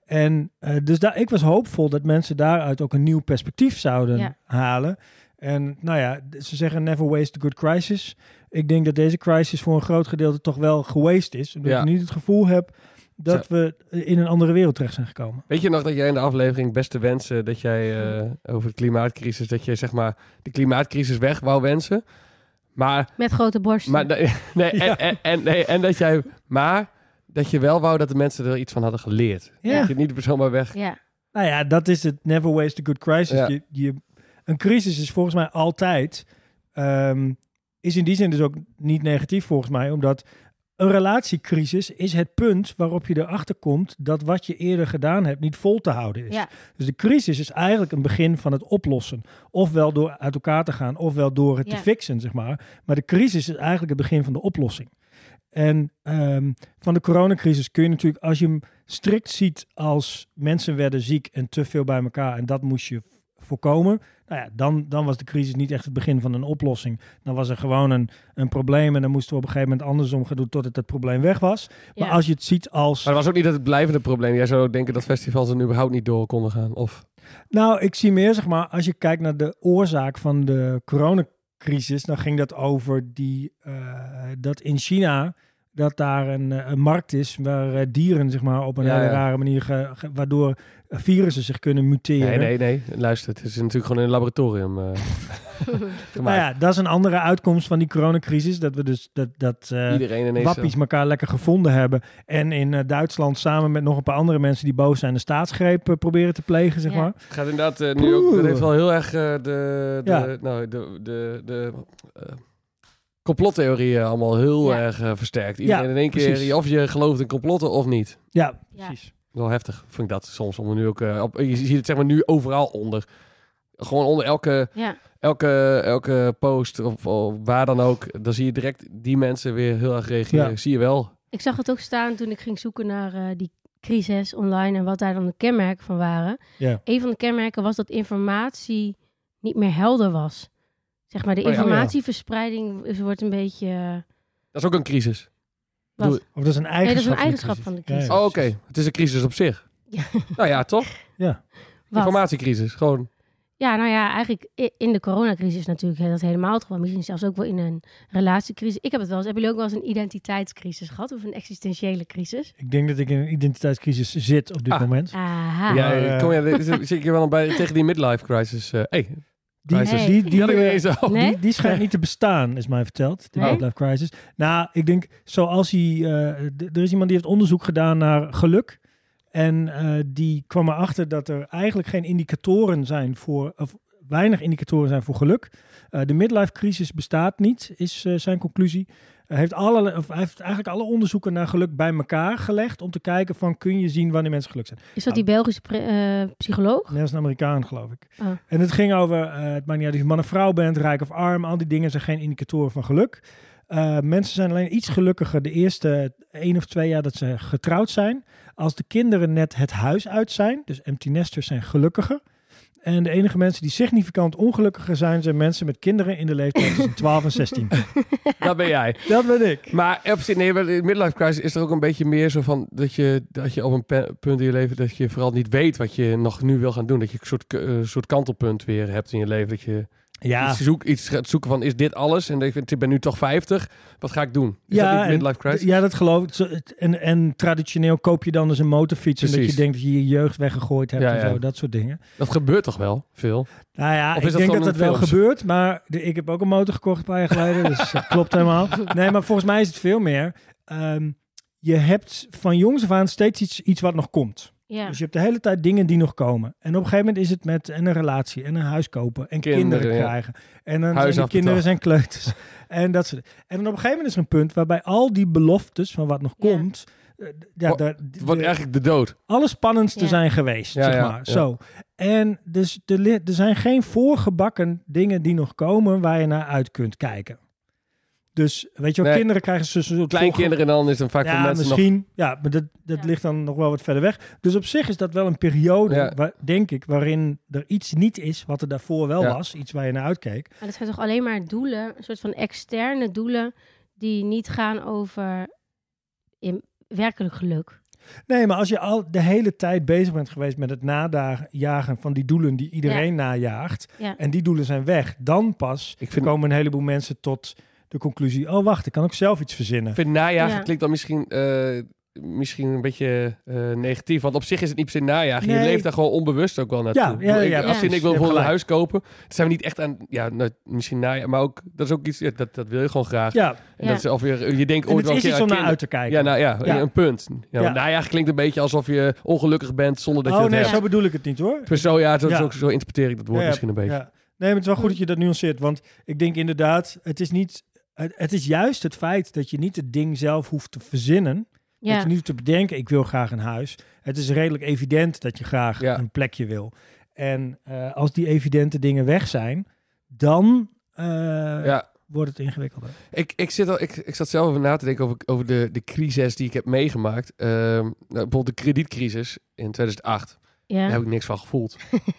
C: En eh, dus daar, ik was hoopvol dat mensen daaruit ook een nieuw perspectief zouden
A: Ja.
C: halen. En nou ja, d- ze zeggen never waste a good crisis. Ik denk dat deze crisis voor een groot gedeelte toch wel geweest is. Omdat
B: Ja.
C: ik niet het gevoel heb dat we eh, in een andere wereld terecht zijn gekomen.
B: Weet je nog dat jij in de aflevering beste wensen dat jij eh, over de klimaatcrisis, dat je zeg maar de klimaatcrisis weg wou wensen. Maar,
A: Met grote borsten.
B: maar nee, nee, en,
C: Ja.
B: en, en- nee, en dat jij, maar dat je wel wou dat de mensen er iets van hadden geleerd.
A: Ja.
B: Dat je het niet zomaar weg.
A: ja.
C: Nou ja, dat is het never waste a good crisis.
B: Ja.
C: Je, je, een crisis is volgens mij altijd, ehm, is in die zin dus ook niet negatief volgens mij, omdat een relatiecrisis is het punt waarop je erachter komt dat wat je eerder gedaan hebt niet vol te houden is.
A: Ja.
C: Dus de crisis is eigenlijk een begin van het oplossen. Ofwel door uit elkaar te gaan, ofwel door het te
A: Ja.
C: fixen, zeg maar. Maar de crisis is eigenlijk het begin van de oplossing. En ehm, van de coronacrisis kun je natuurlijk, als je hem strikt ziet als mensen werden ziek en te veel bij elkaar en dat moest je voorkomen, nou ja, dan, dan was de crisis niet echt het begin van een oplossing. Dan was er gewoon een, een probleem en dan moesten we op een gegeven moment andersom gaan doen totdat het probleem weg was. Maar
A: Ja.
C: als je het ziet als...
B: Maar dat was ook niet dat het blijvende probleem. Jij zou ook denken dat festivals er überhaupt niet door konden gaan. Of
C: Nou, ik zie meer, zeg maar, als je kijkt naar de oorzaak van de coronacrisis, crisis, dan ging dat over die, eh, dat in China dat daar een, eh, een markt is waar eh, dieren zeg maar, op een
B: Ja,
C: hele
B: ja.
C: rare manier, ge- ge- waardoor virussen zich kunnen muteren.
B: Nee, nee, nee. Luister, het is natuurlijk gewoon in een laboratorium eh, gemaakt.
C: Nou ja, dat is een andere uitkomst van die coronacrisis, dat we dus dat, dat eh,
B: Iedereen ineens...
C: wappies elkaar lekker gevonden hebben. En in eh, Duitsland samen met nog een paar andere mensen die boos zijn, een staatsgreep eh, proberen te plegen, zeg
A: Ja.
C: maar.
B: Het gaat inderdaad eh, nu ook... Dat
C: Poeh.
B: heeft wel heel erg eh, de, de,
C: Ja.
B: nou, de, de, de eh, complottheorieën allemaal heel
A: Ja.
B: erg eh, versterkt. Iedereen
C: Ja,
B: in één keer,
C: precies.
B: je- of je gelooft in complotten of niet.
C: Ja,
A: Ja.
C: precies.
B: Wel heftig, vind ik dat soms. Om er nu ook, eh, op, je ziet het zeg maar nu overal onder. Gewoon onder elke,
A: Ja,
B: elke, elke post of, of waar dan ook. Dan zie je direct die mensen weer heel erg reageren.
C: Ja.
B: Zie je wel.
A: ik zag het ook staan toen ik ging zoeken naar eh, die crisis online en wat daar dan de kenmerken van waren.
C: Ja.
A: Een van de kenmerken was dat informatie niet meer helder was. Zeg maar, de
B: Oh ja.
A: informatieverspreiding is- wordt een beetje... eh,
B: Dat is ook een crisis.
A: Wat?
B: Doe-
C: Of dat is een eigenschap,
A: Nee, dat is een
C: van de
A: eigenschap van de crisis.
C: Ja,
B: Oh,
C: ja,
B: Oké,
C: precies.
B: het is een crisis op zich.
A: Ja.
B: Nou ja, toch?
A: wat?
B: Informatiecrisis, gewoon.
A: Ja, nou ja, eigenlijk i- in de coronacrisis natuurlijk hè, dat helemaal het geval. Misschien zelfs ook wel in een relatiecrisis. Ik heb het wel eens. Hebben jullie ook wel eens een identiteitscrisis gehad of een existentiële crisis?
C: Dus Ik denk dat ik in een identiteitscrisis zit op dit
B: Ah.
C: moment.
A: Aha.
B: ja,
C: maar,
B: eh,
C: eh,
B: kom, ja, dit- dit- zit je wel bij, tegen die midlife crisis. eh hey,
C: Die,
A: crisis.
C: die, die,
B: die had ik niet
C: eh,
B: eens al.
A: Nee?
C: die, die schijnt niet te bestaan, is mij verteld. De
A: Nee?
C: midlife crisis. Nou, ik denk zoals hij... eh, d- er is iemand die heeft onderzoek gedaan naar geluk. En eh, die kwam erachter dat er eigenlijk geen indicatoren zijn voor... Of weinig indicatoren zijn voor geluk. Eh, de midlife crisis bestaat niet, is eh, zijn conclusie. Hij heeft, alle, of hij heeft eigenlijk alle onderzoeken naar geluk bij elkaar gelegd... om te kijken van kun je zien wanneer mensen gelukkig zijn.
A: Is dat die Belgische pre- eh, psycholoog?
C: Nee, dat is een Amerikaan, geloof ik.
A: Ah.
C: En het ging over, eh, het maakt niet uit of je man of vrouw bent, rijk of arm. Al die dingen zijn geen indicatoren van geluk. Eh, mensen zijn alleen iets gelukkiger de eerste één of twee jaar dat ze getrouwd zijn. Als de kinderen net het huis uit zijn, dus empty nesters zijn gelukkiger. En de enige mensen die significant ongelukkiger zijn, zijn mensen met kinderen in de leeftijd tussen 12 en 16.
B: dat ben jij.
C: Dat ben ik.
B: Maar eh, op zich, nee, maar de midlife crisis is er ook een beetje meer zo van dat je, dat je op een pe- punt in je leven dat je vooral niet weet wat je nog nu wil gaan doen. Dat je een soort, k- eh, soort kantelpunt weer hebt in je leven. Dat je
C: Ja,
B: iets, zoek, iets gaat zoeken van is dit alles? En dat je, ik ben nu toch 50. Wat ga ik doen? Is dat
C: ja,
B: niet
C: en-
B: midlife crisis?
C: ja, dat geloof ik. Zo, het- En, en traditioneel koop je dan dus een motorfiets omdat
B: Precies.
C: je denkt dat je je jeugd weggegooid hebt
B: Ja,
C: en
B: ja.
C: zo, dat soort dingen.
B: Dat gebeurt toch wel veel?
C: Nou ja,
B: Of is
C: ik
B: dat
C: denk dat
B: gewoon
C: dat
B: in
C: wel
B: films?
C: gebeurt, maar de- ik heb ook een motor gekocht een paar jaar geleden, dus dat klopt helemaal. Nee, maar volgens mij is het veel meer. ehm, je hebt van jongs af aan steeds iets, iets wat nog komt.
A: Ja.
C: Dus je hebt de hele tijd dingen die nog komen. En op een gegeven moment is het met en een relatie en een huis kopen en kinderen,
B: Kinderen, ja.
C: krijgen. En
B: Huis
C: dan zijn die
B: afbetaald.
C: kinderen zijn kleuters. en, dat soort. en dan op een gegeven moment is er een punt waarbij al die beloftes van wat nog
A: Ja.
C: komt... eh, d- Ja,
B: Wat-
C: daar-
B: Het wordt
C: de-
B: eigenlijk de dood.
C: allerspannendste
A: Ja.
C: zijn geweest,
B: Ja,
C: zeg
B: ja,
C: maar.
B: ja.
C: Zo. En dus er, li- er zijn geen voorgebakken dingen die nog komen waar je naar uit kunt kijken. Dus weet je wel,
B: Nee.
C: kinderen krijgen ze zo'n soort
B: Kleinkinderen dan is dan vaak
C: voorge-
B: voor
C: Ja,
B: mensen nog
C: misschien. Ja, maar dat, dat
A: Ja.
C: ligt dan nog wel wat verder weg. Dus op zich is dat wel een periode,
B: Ja.
C: waar, denk ik, waarin er iets niet is wat er daarvoor wel
B: Ja.
C: was. Iets waar je naar uitkeek.
A: Maar dat zijn toch alleen maar doelen, een soort van externe doelen die niet gaan over in werkelijk geluk.
C: Nee, maar als je al de hele tijd bezig bent geweest met het nadagen van die doelen die iedereen najaagt.
A: Ja.
C: En die doelen zijn weg. Dan pas
B: Ik vind-
C: komen een heleboel mensen tot de conclusie. Oh, wacht, ik kan ook zelf iets verzinnen.
B: Ik vind najagen
A: Ja.
B: klinkt dan misschien, eh, misschien een beetje eh, negatief. Want op zich is het niet per se najagen. Je
C: Nee.
B: leeft daar gewoon onbewust ook wel naartoe.
C: Ja, ja,
B: Ik bedoel, ik-
C: ja,
B: als
A: precies.
B: in, ik
C: Je
B: wil
C: hebt
B: gewoon een
C: gelijk.
B: huis kopen. Dan zijn we niet echt aan... Ja, nou, misschien najagen. Maar ook, dat is ook iets... ja, dat, dat wil je gewoon graag.
C: Ja,
B: En dat is alweer... Je denkt
C: en
B: ooit
C: het
B: wel een
C: is
B: keer
C: iets om
B: aan
C: naar
B: kinderen.
C: uit te kijken.
B: Ja, nou ja,
C: Ja.
B: een punt. Ja, want
C: Ja.
B: Najagen klinkt een beetje alsof je ongelukkig bent zonder dat je
C: oh
B: dat
C: nee,
B: hebt.
C: zo bedoel ik het niet hoor.
B: Maar zo, ja, zo,
C: Ja.
B: Zo, zo interpreteer ik dat woord
C: Ja,
B: misschien een beetje.
C: ja. Nee, maar het is wel goed dat je dat nuanceert. Want ik denk inderdaad, het is niet... Het, het is juist het feit dat je niet het ding zelf hoeft te verzinnen.
A: Ja.
C: Dat je niet hoeft te bedenken, ik wil graag een huis. Het is redelijk evident dat je graag
B: Ja.
C: een plekje wil. En eh, als die evidente dingen weg zijn, dan eh,
B: ja.
C: wordt het ingewikkelder.
B: Ik, ik, zit al, ik, ik zat zelf even na te denken over, over de, de crisis die ik heb meegemaakt. Ehm, nou, bijvoorbeeld de kredietcrisis in 2008.
A: Ja,
B: Daar heb ik niks van gevoeld.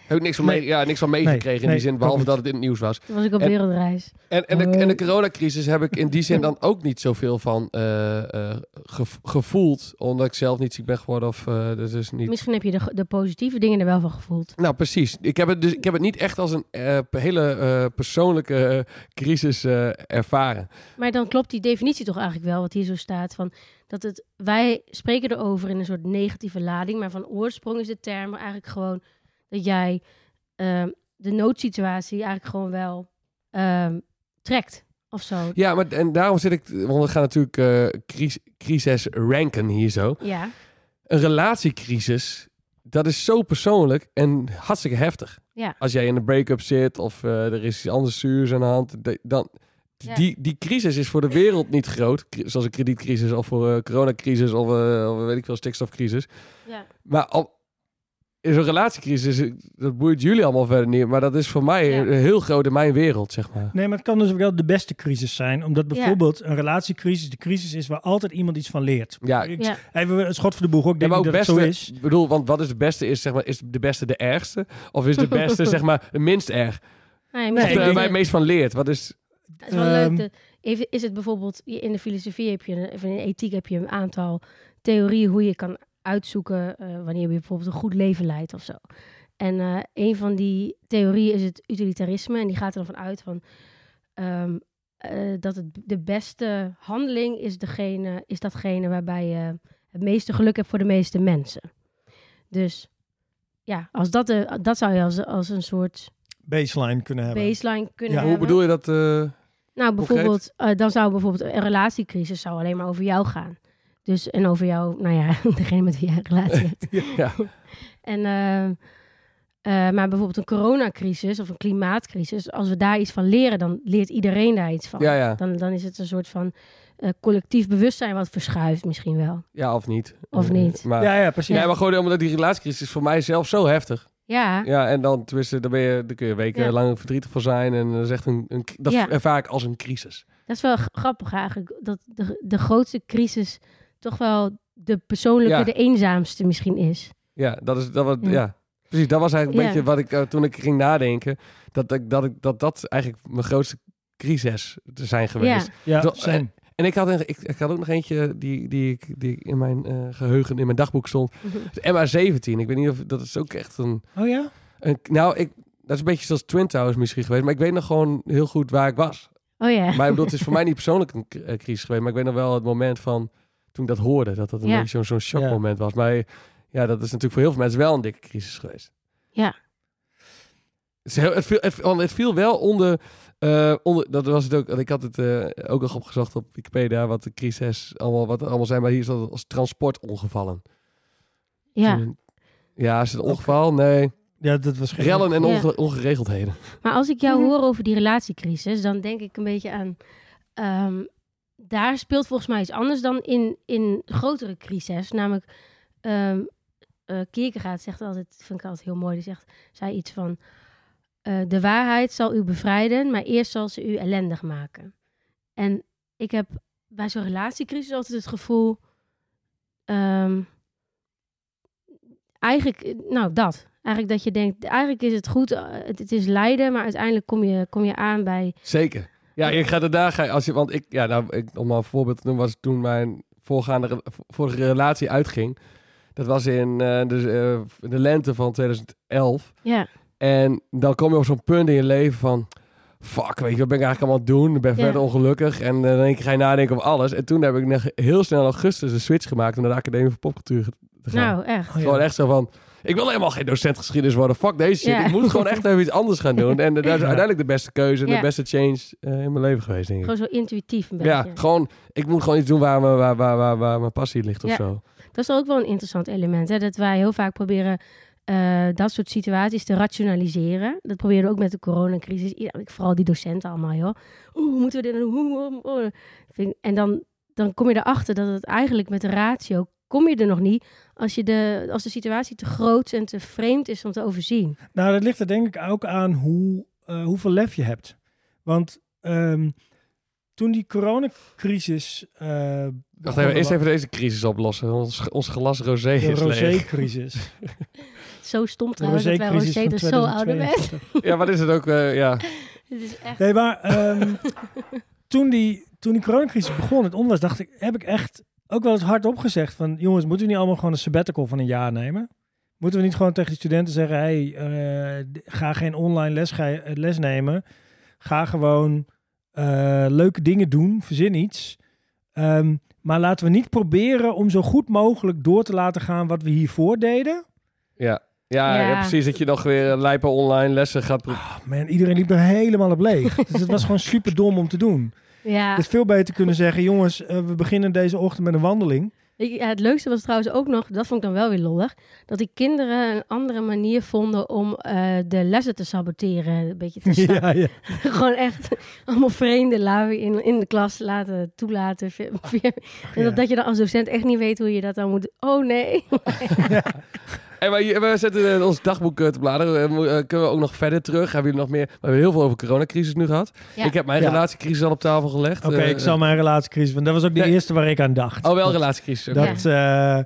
B: heb ik niks van, mee- ja, niks van meegekregen in
C: nee,
B: die zin,
C: ook
B: behalve
C: niet.
B: dat het in het nieuws was.
A: toen was ik op
B: En-
A: wereldreis.
B: En, en, de,
C: Oh.
B: en de coronacrisis heb ik in die zin dan ook niet zoveel van eh, eh, gev- gevoeld. Omdat ik zelf niet ziek ben geworden of eh dat is niet...
A: Misschien heb je de, de positieve dingen er wel van gevoeld.
B: Nou, precies. Ik heb het, dus, ik heb het niet echt als een eh, hele eh, persoonlijke eh, crisis eh, ervaren.
A: Maar dan klopt die definitie toch eigenlijk wel, wat hier zo staat. Van dat het, wij spreken erover in een soort negatieve lading, maar van oorsprong is de term eigenlijk gewoon dat jij ehm, de noodsituatie eigenlijk gewoon wel ehm, trekt of zo.
B: Ja, maar en daarom zit ik... Want we gaan natuurlijk eh, cris- crisis ranken hier zo.
A: Ja,
B: Een relatiecrisis, dat is zo persoonlijk en hartstikke heftig.
A: Ja.
B: Als jij in een break-up zit of eh, er is iets anders zuurs aan de hand, de- dan...
A: Ja.
B: Die, die crisis is voor de wereld niet groot. Cri- Zoals een kredietcrisis of voor eh, coronacrisis of, eh, of weet ik veel, stikstofcrisis.
A: ja.
B: Maar al, in zo'n relatiecrisis, eh, dat boeit jullie allemaal verder niet. Maar dat is voor mij
A: Ja.
B: een heel groot in mijn wereld, zeg maar.
C: Nee, maar het kan dus ook wel de beste crisis zijn. Omdat bijvoorbeeld een relatiecrisis de crisis is waar altijd iemand iets van leert.
B: Ja,
C: Ik-
A: ja.
C: Even een schot voor de boeg ook. Ik
B: Ja,
C: denk
B: maar
C: niet
B: ook
C: dat
B: beste,
C: het zo is.
B: Ik bedoel, want wat is de beste? Is, zeg maar, is de beste de ergste? Of is de beste, zeg maar, het minst erg?
A: Nou ja,
C: Nee,
A: misschien
B: Of
C: ik
B: daar
A: is
C: denk-
B: waar je
A: het-
B: het meest van leert? Wat is...
A: Het is wel leuk.
C: Ehm,
A: dat- even- is het bijvoorbeeld in de filosofie heb je, een- of in de ethiek heb je een aantal theorieën hoe je kan uitzoeken eh, wanneer je bijvoorbeeld een goed leven leidt of zo. En eh, een van die theorieën is het utilitarisme en die gaat er dan van uit van ehm, eh, dat het de beste handeling is, degene, is datgene waarbij je het meeste geluk hebt voor de meeste mensen. Dus ja, als dat, de, dat zou je als, als een soort
C: Baseline kunnen hebben.
A: baseline kunnen
C: Ja.
B: Hoe
A: hebben.
B: bedoel je dat? eh,
A: Nou,
B: Concreet?
A: bijvoorbeeld, eh, dan zou bijvoorbeeld een relatiecrisis zou alleen maar over jou gaan. Dus en over jou, nou ja, degene met wie jij een relatie hebt.
B: ja.
A: En, eh, eh, maar bijvoorbeeld een coronacrisis of een klimaatcrisis, als we daar iets van leren, dan leert iedereen daar iets van.
B: ja, ja.
A: Dan, dan is het een soort van eh, collectief bewustzijn wat verschuift misschien wel.
B: Ja, of niet.
A: Of niet.
B: Maar,
C: Ja, ja, precies.
B: Nee, maar gewoon omdat die relatiecrisis is voor mij zelf zo heftig.
A: Ja,
B: Ja, en dan, tenminste, daar, ben je, daar kun je
A: Ja.
B: wekenlang verdrietig van zijn. En dat is echt een, een, dat
A: Ja.
B: ervaar ik als een crisis.
A: dat is wel g- grappig eigenlijk. Dat de, de grootste crisis toch wel de persoonlijke,
B: Ja.
A: de eenzaamste misschien is.
B: Ja, dat is dat wat, ja.
A: Ja.
B: Precies, dat was eigenlijk een
A: Ja.
B: beetje wat ik eh, toen ik ging nadenken. Dat ik, dat, ik, dat dat eigenlijk mijn grootste crisis te zijn geweest.
C: Ja,
B: Zo-
C: same.
B: En ik had, een, ik, ik had ook nog eentje die, die, ik- die ik in mijn eh, geheugen, in mijn dagboek stond. MA17. Ik weet niet of dat is ook echt een.
C: Oh ja?
B: een nou, ik, dat is een beetje zoals Twin Towers misschien geweest. Maar ik weet nog gewoon heel goed waar ik was.
A: Oh ja.
B: Maar ik bedoel, het is voor mij niet persoonlijk een k- eh, crisis geweest. Maar ik weet nog wel het moment van toen ik dat hoorde. Dat dat een
A: Ja.
B: beetje zo'n zo'n shockmoment was. Maar ja, dat is natuurlijk voor heel veel mensen wel een dikke crisis geweest.
A: Ja.
B: Het, is heel- het, viel, het, want het viel wel onder, eh, onder... Dat was het ook. want Ik had het eh, ook nog opgezocht op Wikipedia. Wat de crisis allemaal, wat er allemaal zijn. Maar hier zat het als transportongevallen.
A: ja.
B: Toen- ja, is het een ongeval? Nee.
C: Ja, dat was geen...
B: Rellen en
A: Ja.
B: onge- ongeregeldheden.
A: Maar als ik jou
E: Mhm.
A: hoor over die relatiecrisis, dan denk ik een beetje aan. ehm, daar speelt volgens mij iets anders dan in, in grotere crises. Namelijk, ehm eh, Kierkegaard zegt altijd, vind ik altijd heel mooi, die zegt, zei iets van, eh, de waarheid zal u bevrijden, maar eerst zal ze u ellendig maken. En ik heb bij zo'n relatiecrisis altijd het gevoel, ehm, eigenlijk, eh, nou dat. Eigenlijk dat je denkt, eigenlijk is het goed, eh, het, het is lijden, maar uiteindelijk kom je, kom je aan bij
B: Zeker. Ja, je gaat er daar gaan. Als je, want ik, ja, nou, ik, om maar een voorbeeld te noemen, was toen mijn voorgaande re- vorige relatie uitging. Dat was in eh, dus, eh, de lente van 2011.
A: Ja,
B: En dan kom je op zo'n punt in je leven van... Fuck, weet je, wat ben ik eigenlijk allemaal aan het doen? Ik ben
A: Ja.
B: verder ongelukkig. En eh, in één keer ga je nadenken over alles. En toen heb ik nog heel snel in augustus een switch gemaakt... om naar de Academie voor Popcultuur te gaan.
A: nou echt.
C: Oh, ja.
B: Gewoon echt zo van... Ik wil helemaal geen docent geschiedenis worden. Fuck deze shit.
A: Ja.
B: Ik moet gewoon echt even iets anders gaan doen. En eh, dat is
C: Ja.
B: uiteindelijk de beste keuze... en
A: Ja.
B: de beste change eh, in mijn leven geweest, denk ik.
A: Gewoon zo intuïtief een beetje.
B: Ja, gewoon... Ik moet gewoon iets doen waar, mijn- waar, waar, waar, waar mijn passie ligt of
A: Ja.
B: zo.
A: Dat is ook wel een interessant element. Hè? Dat wij heel vaak proberen eh, dat soort situaties te rationaliseren. Dat probeerden we ook met de coronacrisis. Ja, vooral die docenten allemaal, joh. Oeh, hoe moeten we dit nou doen? Hoe, hoe, hoe? Vind ik- En dan, dan kom je erachter dat het eigenlijk met de ratio... kom je er nog niet als, je de, als de situatie te groot en te vreemd is om te overzien.
C: Nou, dat ligt er denk ik ook aan hoe, eh, hoeveel lef je hebt. Want ehm, toen die coronacrisis... eh
B: Wacht
C: begon,
B: even, eerst
C: wa-
B: even deze crisis oplossen. Ons, ons glas rosé
C: De
B: is leeg.
C: rosé-crisis.
A: echt zo stom
C: De
A: trouwens dat wij
C: rosé-crisis
A: Rosé
C: van
A: dus zo ouderwets.
C: 2042.
B: Ja, wat is het ook? eh, ja.
A: Dit is echt...
C: Nee, maar ehm, toen, die, toen die coronacrisis begon, het onderwijs, dacht ik, heb ik echt ook wel eens hardop gezegd van, jongens, moeten we niet allemaal gewoon een sabbatical van een jaar nemen? Moeten we niet gewoon tegen de studenten zeggen, hey, eh, d- ga geen online les, ga, eh, les nemen. Ga gewoon eh, leuke dingen doen, verzin iets. Ehm, maar laten we niet proberen om zo goed mogelijk door te laten gaan wat we hiervoor deden.
B: Ja. Ja, ja.
A: Ja.
B: precies. Dat je nog weer eh, lijpe online lessen gaat... pro-
C: Oh man, iedereen liep er helemaal op leeg. Dus het was gewoon super dom om te doen.
A: Ja.
C: Het is veel beter kunnen zeggen, jongens, eh, we beginnen deze ochtend met een wandeling.
A: Ik, ja, het leukste was trouwens ook nog, dat vond ik dan wel weer lollig, dat die kinderen een andere manier vonden om eh, de lessen te saboteren. Een beetje te sa-
C: ja.
A: Gewoon echt allemaal vreemde lui in, in de klas laten toelaten. Ve- ve- En
C: Ja.
A: dat, dat je dan als docent echt niet weet hoe je dat dan moet... Oh nee.
B: En wij, wij zetten eh, ons dagboek eh, te bladeren. Eh, mo- eh, kunnen we ook nog verder terug? Hebben jullie nog meer... We hebben heel veel over coronacrisis nu gehad.
A: Ja.
B: Ik heb mijn
C: Ja.
B: relatiecrisis al op tafel gelegd.
C: Oké,
B: Eh,
C: ik zal mijn relatiecrisis, want dat was ook de
B: Nee.
C: eerste waar ik aan dacht.
B: Oh, wel
C: Dat-
B: relatiecrisis. oké.
C: Dat, eh,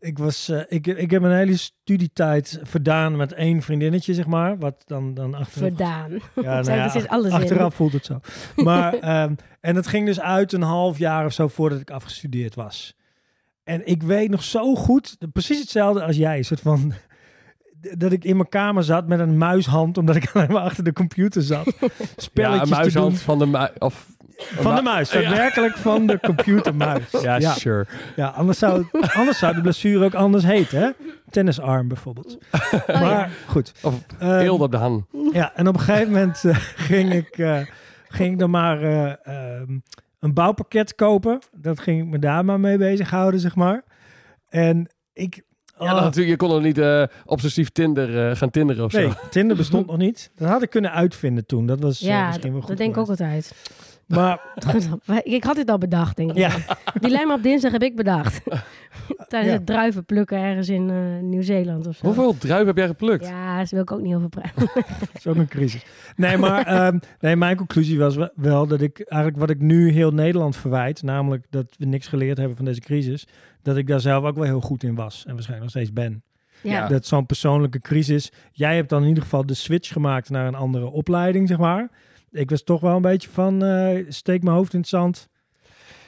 C: ik, was, eh, ik, ik heb mijn hele studietijd verdaan met één vriendinnetje, zeg maar. Wat dan, dan achteraf...
A: Verdaan.
C: Ja,
A: Zo,
B: dus
A: er zit
C: ach-
A: alles in.
C: achteraf voelt het zo. Maar, ehm, en dat ging dus uit een half jaar of zo voordat ik afgestudeerd was. En ik weet nog zo goed, precies hetzelfde als jij, een soort van dat ik in mijn kamer zat met een muishand, omdat ik alleen maar achter de computer zat.
B: Ja, een
C: Spelletjes te doen.
B: muishand van de mu- Of...
C: Van de muis, daadwerkelijk van de computermuis.
B: Ja,
C: ja,
B: sure.
C: ja, anders, zou, anders zou de blessure ook anders heten, hè? Tennisarm bijvoorbeeld.
A: Oh, ja.
C: Maar goed.
B: Of
C: ehm,
B: eelde op de hand.
C: ja, en op een gegeven moment eh, ging, ik, eh, ging ik dan maar eh, ehm, een bouwpakket kopen. Dat ging ik me daar maar mee bezighouden, zeg maar. En ik...
B: Ja,
C: oh,
B: dat natuurlijk, je kon nog niet eh, obsessief Tinder, eh, gaan tinderen of zo.
C: nee, Tinder bestond nog niet. Dat had ik kunnen uitvinden toen. Dat was eh,
A: Ja,
C: misschien
A: dat,
C: wel goed
A: dat denk ik ook
C: geweest.
A: altijd.
C: Maar
A: Ik had dit al bedacht, denk ik.
C: ja,
A: Die lijm op dinsdag heb ik bedacht. Tijdens
C: Ja.
A: het druiven plukken ergens in eh, Nieuw-Zeeland of zo.
B: Hoeveel druiven heb jij geplukt?
A: Ja, daar wil ik ook niet over praten.
C: Dat is ook een crisis. Nee, maar ehm, nee, mijn conclusie was we- wel dat ik eigenlijk wat ik nu heel Nederland verwijt, namelijk dat we niks geleerd hebben van deze crisis, dat ik daar zelf ook wel heel goed in was en waarschijnlijk nog steeds ben.
B: Ja.
A: Ja.
C: Dat zo'n persoonlijke crisis. Jij hebt dan in ieder geval de switch gemaakt naar een andere opleiding, zeg maar. Ik was toch wel een beetje van eh, steek mijn hoofd in het zand.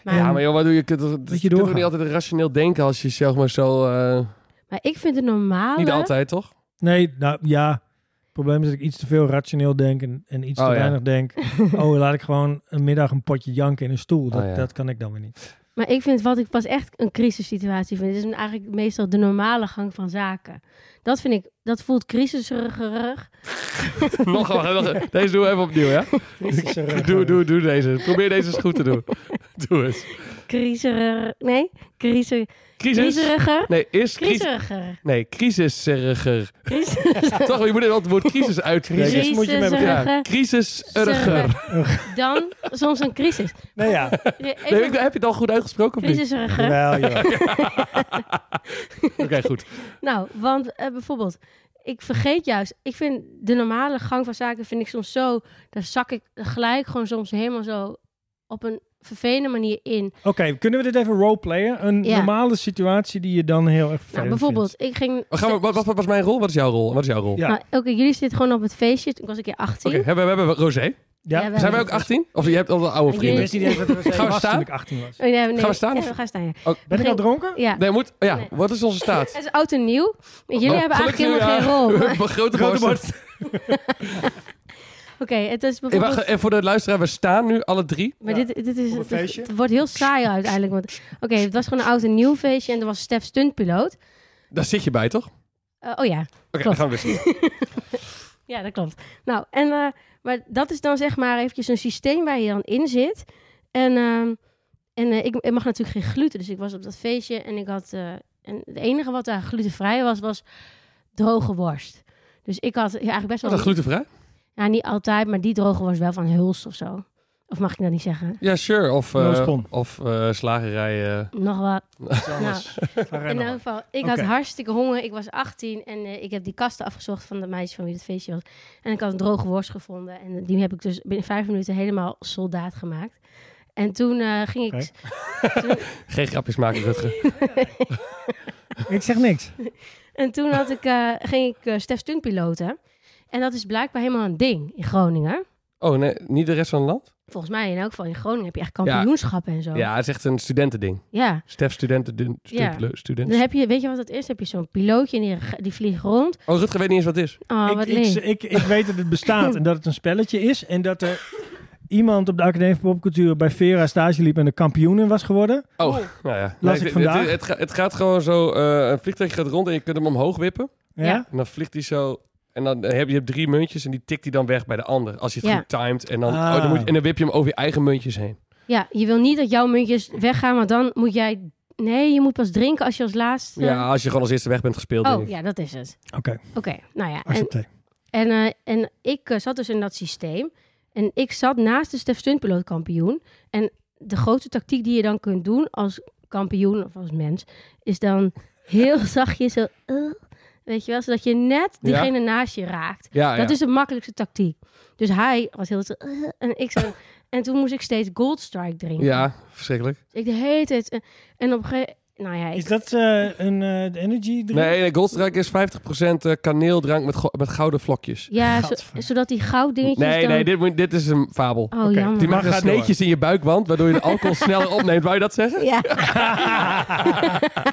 A: Maar,
B: Ja, maar joh, wat doe je? Je kunt toch- Je kunt toch
C: doorgaan.
B: niet altijd rationeel denken als je zelf maar zo... eh,
A: maar ik vind het normaal.
B: niet altijd, toch?
C: Nee, nou ja. Het probleem is dat ik iets te veel rationeel denk en, en iets
B: Oh,
C: te
B: ja.
C: weinig denk. Oh, laat ik gewoon een middag een potje janken in een stoel. Dat,
B: Oh, ja.
C: dat kan ik dan weer niet.
A: Maar ik vind wat ik pas echt een crisissituatie vind, is eigenlijk meestal de normale gang van zaken. Dat vind ik, dat voelt crisisrigerig.
B: nog, een- nog een- Deze doen we even opnieuw, ja? Doe, doe, doe deze. Probeer deze eens goed te doen. Doe het.
A: Crisiser, nee, crisis,
B: Crisis?
A: criseriger.
B: Nee, is crisis...
A: Criseriger.
B: Nee, crisiseriger.
A: Crisis-
B: Toch, je moet het woord crisis uitspreken.
C: Crisis. moet je met elkaar.
A: Crisiseriger.
B: Crisiseriger.
A: Dan soms een crisis.
C: Nou ja,
B: Nee,
A: Even
B: heb je het al goed uitgesproken of niet?
A: crisiseriger.
C: wel joh.
B: Oké, goed.
A: Nou, want eh, bijvoorbeeld, ik vergeet juist, ik vind de normale gang van zaken vind ik soms zo, daar zak ik gelijk gewoon soms helemaal zo op een vervelende manier in. Nou,
C: Oké, kunnen we dit even roleplayen? Een
A: Ja.
C: normale situatie die je dan heel erg
A: Nou,
C: vervelend
A: bijvoorbeeld,
C: vindt.
A: ik ging...
B: Wat, gaan we, wat, wat, wat was mijn rol? Wat is jouw rol? Wat is jouw rol?
C: Ja.
A: Nou, Oké, jullie zitten gewoon op het feestje. Ik Oh, was een keer 18.
B: Oké, hebben we, hebben we Rosé?
C: Ja,
A: Ja, wel.
B: Zijn wij ook 18? Of je hebt al de oude
A: Ik
C: Ik
A: weet
B: vrienden?
A: het
C: wist niet eens dat er
B: Gaan we
C: was
B: staan?
C: toen ik 18 was.
A: Oh, nee, nee,
B: Gaan we staan
A: Ja,
B: of-
A: we gaan staan, ja.
C: Ben ik al
A: Geen-
C: dronken?
A: ja.
B: Nee, moet, ja,
A: Nee.
B: wat is onze staat?
A: Het is oud en nieuw. Jullie hebben
B: Oh,
A: eigenlijk
B: gelukkig
A: helemaal geen rol.
B: nieuwjaar.
A: maar- Oké,
B: Grote
C: Grote
B: borst.
A: het is
B: Hey,
A: bijvoorbeeld...
B: wacht, eh, en voor de luisteraar, we staan nu alle drie.
A: Maar
C: Ja.
A: dit, dit is,
C: Op een
A: het,
C: feestje.
A: het wordt heel saai uiteindelijk. want- Oké, het was gewoon een oud en nieuw feestje en er was Stef stuntpiloot.
B: Daar zit je bij, toch? Oké,
A: Eh, oh ja,
B: dan
A: Klopt.
B: gaan we dus.
A: Ja, dat klopt. Nou, en, eh, maar dat is dan zeg maar eventjes een systeem waar je dan in zit. En, ehm, en eh, ik, ik mag natuurlijk geen gluten, dus ik was op dat feestje en ik had... eh, en het enige wat daar glutenvrij was, was droge worst. Dus ik had ja, eigenlijk best
B: Is
A: wel...
B: dat glutenvrij?
A: Ja, niet altijd, maar die droge was wel van Hulst of zo. Of mag ik dat niet zeggen?
B: Ja, sure. Of, eh,
C: No spon.
B: of eh, slagerij. eh.
A: Nog wat. Nou, in elk
C: borst.
A: geval, ik
C: Oké.
A: had hartstikke honger. Ik was 18 en eh, ik heb die kasten afgezocht van de meisje van wie het feestje was. En ik had een droge worst gevonden. En die heb ik dus binnen vijf minuten helemaal soldaat gemaakt. En toen eh, ging ik...
C: Oké.
A: toen-
B: Geen grapjes maken, Rutger.
C: Ik zeg niks.
A: En toen had ik, eh, ging ik eh Stef Stunt piloten. En dat is blijkbaar helemaal een ding in Groningen.
B: Oh, nee, niet de rest van het land?
A: Volgens mij in elk geval in Groningen heb je echt
B: Ja.
A: kampioenschappen en zo.
B: Ja, het is echt een studentending.
A: ja.
B: Stef, studenten, dun- stu-
A: Ja.
B: le- student.
A: Dan heb je, weet je wat dat is? Dan heb je zo'n pilootje en die, die vliegt rond.
B: Oh, Rutger weet niet eens wat het is.
A: Oh,
C: ik,
A: wat
C: ik,
A: leuk.
C: ik, ik weet dat het bestaat en dat het een spelletje is. En dat er iemand op de Academie van Popcultuur bij Vera stage liep en de kampioen in was geworden.
B: Oh, nou ja.
C: Las ik
B: het-
C: vandaag.
B: Het, het, ga- het gaat gewoon zo, eh, een vliegtuig gaat rond en je kunt hem omhoog wippen.
C: Ja.
A: Ja.
B: En dan vliegt hij zo... En dan eh, heb je je hebt drie muntjes en die tikt hij dan weg bij de ander. Als je het
A: Ja.
B: goed timed. En dan,
C: Ah.
B: oh, dan moet je, en dan wip je hem over je eigen muntjes heen.
A: Ja, je wil niet dat jouw muntjes weggaan, want dan moet jij... Nee, je moet pas drinken als je als laatste...
B: Ja, als je gewoon als eerste weg bent gespeeld. denk
A: Oh,
B: ik.
A: ja, dat is het.
C: Oké,
A: Oké, nou ja. En,
C: accepteer.
A: en, eh, en ik eh, zat dus in dat systeem. En ik zat naast de Stef Stuntpiloot kampioen. En de grote tactiek die je dan kunt doen als kampioen of als mens... is dan heel zachtjes zo... eh, weet je wel, zodat je net
B: Ja.
A: diegene naast je raakt.
B: ja, ja.
A: Dat is de makkelijkste tactiek. Dus hij was heel... zo, eh, en ik zo... En toen moest ik steeds Gold Strike drinken.
B: ja, verschrikkelijk.
A: Dus ik de hele tijd... eh, En op een gegeven Nou ja,
C: Is
A: ik,
C: dat eh, een eh, de energy drink?
B: Nee, nee, Goldstrike is 50% eh, kaneeldrank met, go- met gouden vlokjes.
A: ja zo-
C: Gadver.
A: zodat die gouddingetjes
B: Nee,
A: dan...
B: nee, dit, moet- dit is een fabel.
A: Oh,
C: Oké,
A: jammer.
B: Die maken
C: Mag snorren.
B: sneetjes in je buikwand, waardoor je de alcohol sneller opneemt. Wou je dat zeggen?
A: Ja.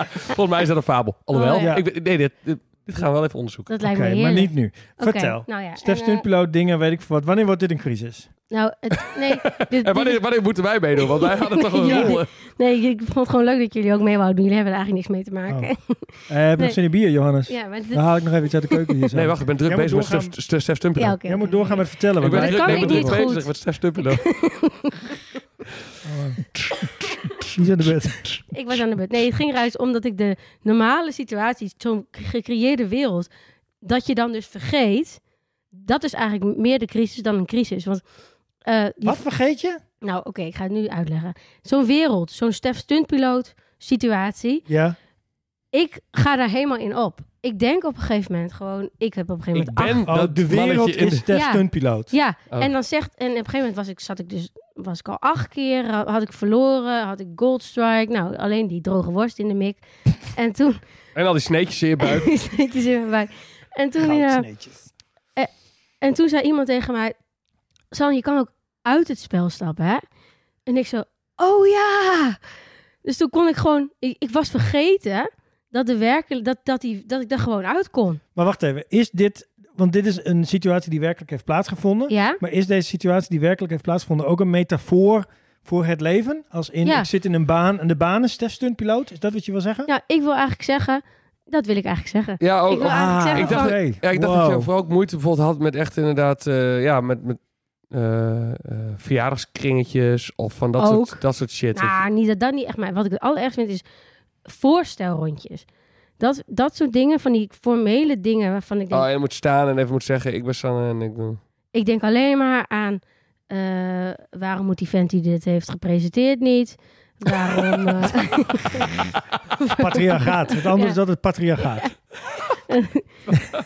B: Volgens mij is dat een fabel. Alhoewel,
A: Oh,
C: ja.
B: ik, weet- nee, dit, dit, dit gaan we wel even onderzoeken.
A: Dat
C: Oké,
A: lijkt me
C: maar
A: heerlijk.
C: niet nu.
A: Oké,
C: Vertel.
A: Nou ja,
C: Stef
A: en, eh,
C: Stuntpiloot, dingen, weet ik veel wat. Wanneer wordt dit een crisis?
A: nou, het, nee, dit- dit,
B: En wanneer, wanneer moeten wij meedoen? Want wij hadden toch een
A: Ja.
B: rol. eh.
A: nee, ik vond het gewoon leuk dat jullie ook mee wouden doen. Jullie hebben er eigenlijk niks mee te maken.
C: Eh, heb je nog
A: Nee.
C: zin in bier, Johannes?
A: Ja, maar dit-
C: Dan haal ik nog even iets uit de keuken hier zo.
B: Nee, wacht, ik ben druk
C: Jij moet
B: bezig met
C: doorgaan-
B: Stef- Stef Stef Stumpelo.
A: ja, oké.
C: Jij moet doorgaan met vertellen.
B: Ik
C: want
B: ben
A: dat
C: wij-
B: druk,
A: kan
B: nee, ik
A: ik
B: ben
A: niet
B: druk
A: goed.
B: bezig met Stef Stumpelo.
C: Niet aan de bed.
A: Ik was aan de beurt. Nee, het ging eruit omdat ik de normale situatie, zo'n gecreëerde wereld, dat je dan dus vergeet. Dat is eigenlijk meer de crisis dan een crisis. Want, eh, je-
C: Wat vergeet je?
A: nou oké, ik ga het nu uitleggen. Zo'n wereld, zo'n Stef Stuntpiloot situatie.
C: Ja.
A: Ik ga daar helemaal in op. Ik denk op een gegeven moment gewoon, ik heb op een gegeven
B: Ik
A: moment
B: ben
C: Oh,
B: dat
C: de wereld
B: mannetje in
C: is
B: de-
C: Stef
A: Ja.
C: Stuntpiloot.
A: Ja,
B: Oh.
A: en dan zegt... En op een gegeven moment was ik, zat ik dus... Was ik al acht keer, ha- had ik verloren, had ik Gold Strike. Nou, alleen die droge worst in de mik. En toen...
B: En al die sneetjes in je buik.
A: steekjes in mijn buik. En toen, ja,
C: Goudsneetjes.
A: en toen zei iemand tegen mij... San, je kan ook uit het spel stappen, hè? En ik zo... Oh ja! Dus toen kon ik gewoon... Ik, ik was vergeten dat, de werkel, dat, dat, die, dat ik daar gewoon uit kon.
C: Maar wacht even, is dit... Want dit is een situatie die werkelijk heeft plaatsgevonden.
A: Ja?
C: Maar is deze situatie die werkelijk heeft plaatsgevonden ook een metafoor voor het leven? Als in,
A: Ja.
C: ik zit in een baan en de baan is Stef Stuntpiloot. Is dat wat je wil zeggen?
A: Nou, ik wil eigenlijk zeggen... Dat wil ik eigenlijk zeggen.
B: Ja, ook,
A: Ik wil
B: ook-
A: eigenlijk
C: Ah,
A: zeggen
B: ik dacht
A: van-
B: dat- ja, ik dacht dat je vooral ook moeite bijvoorbeeld had met echt inderdaad... eh, ja, met, met eh, eh, verjaardagskringetjes of van dat,
A: Ook.
B: soort, dat soort shit.
A: Nou, niet dat dat niet echt. Maar wat ik het allerergst vind is voorstelrondjes. Dat, dat soort dingen, van die formele dingen waarvan ik denk...
B: Oh, en je moet staan en even moet zeggen, ik ben Sanne en ik doe...
A: Ik denk alleen maar aan... eh, waarom moet die vent die dit heeft gepresenteerd niet? Waarom... eh,
C: Patriarchaat. Het andere
A: Ja.
C: is dat het patriarchaat.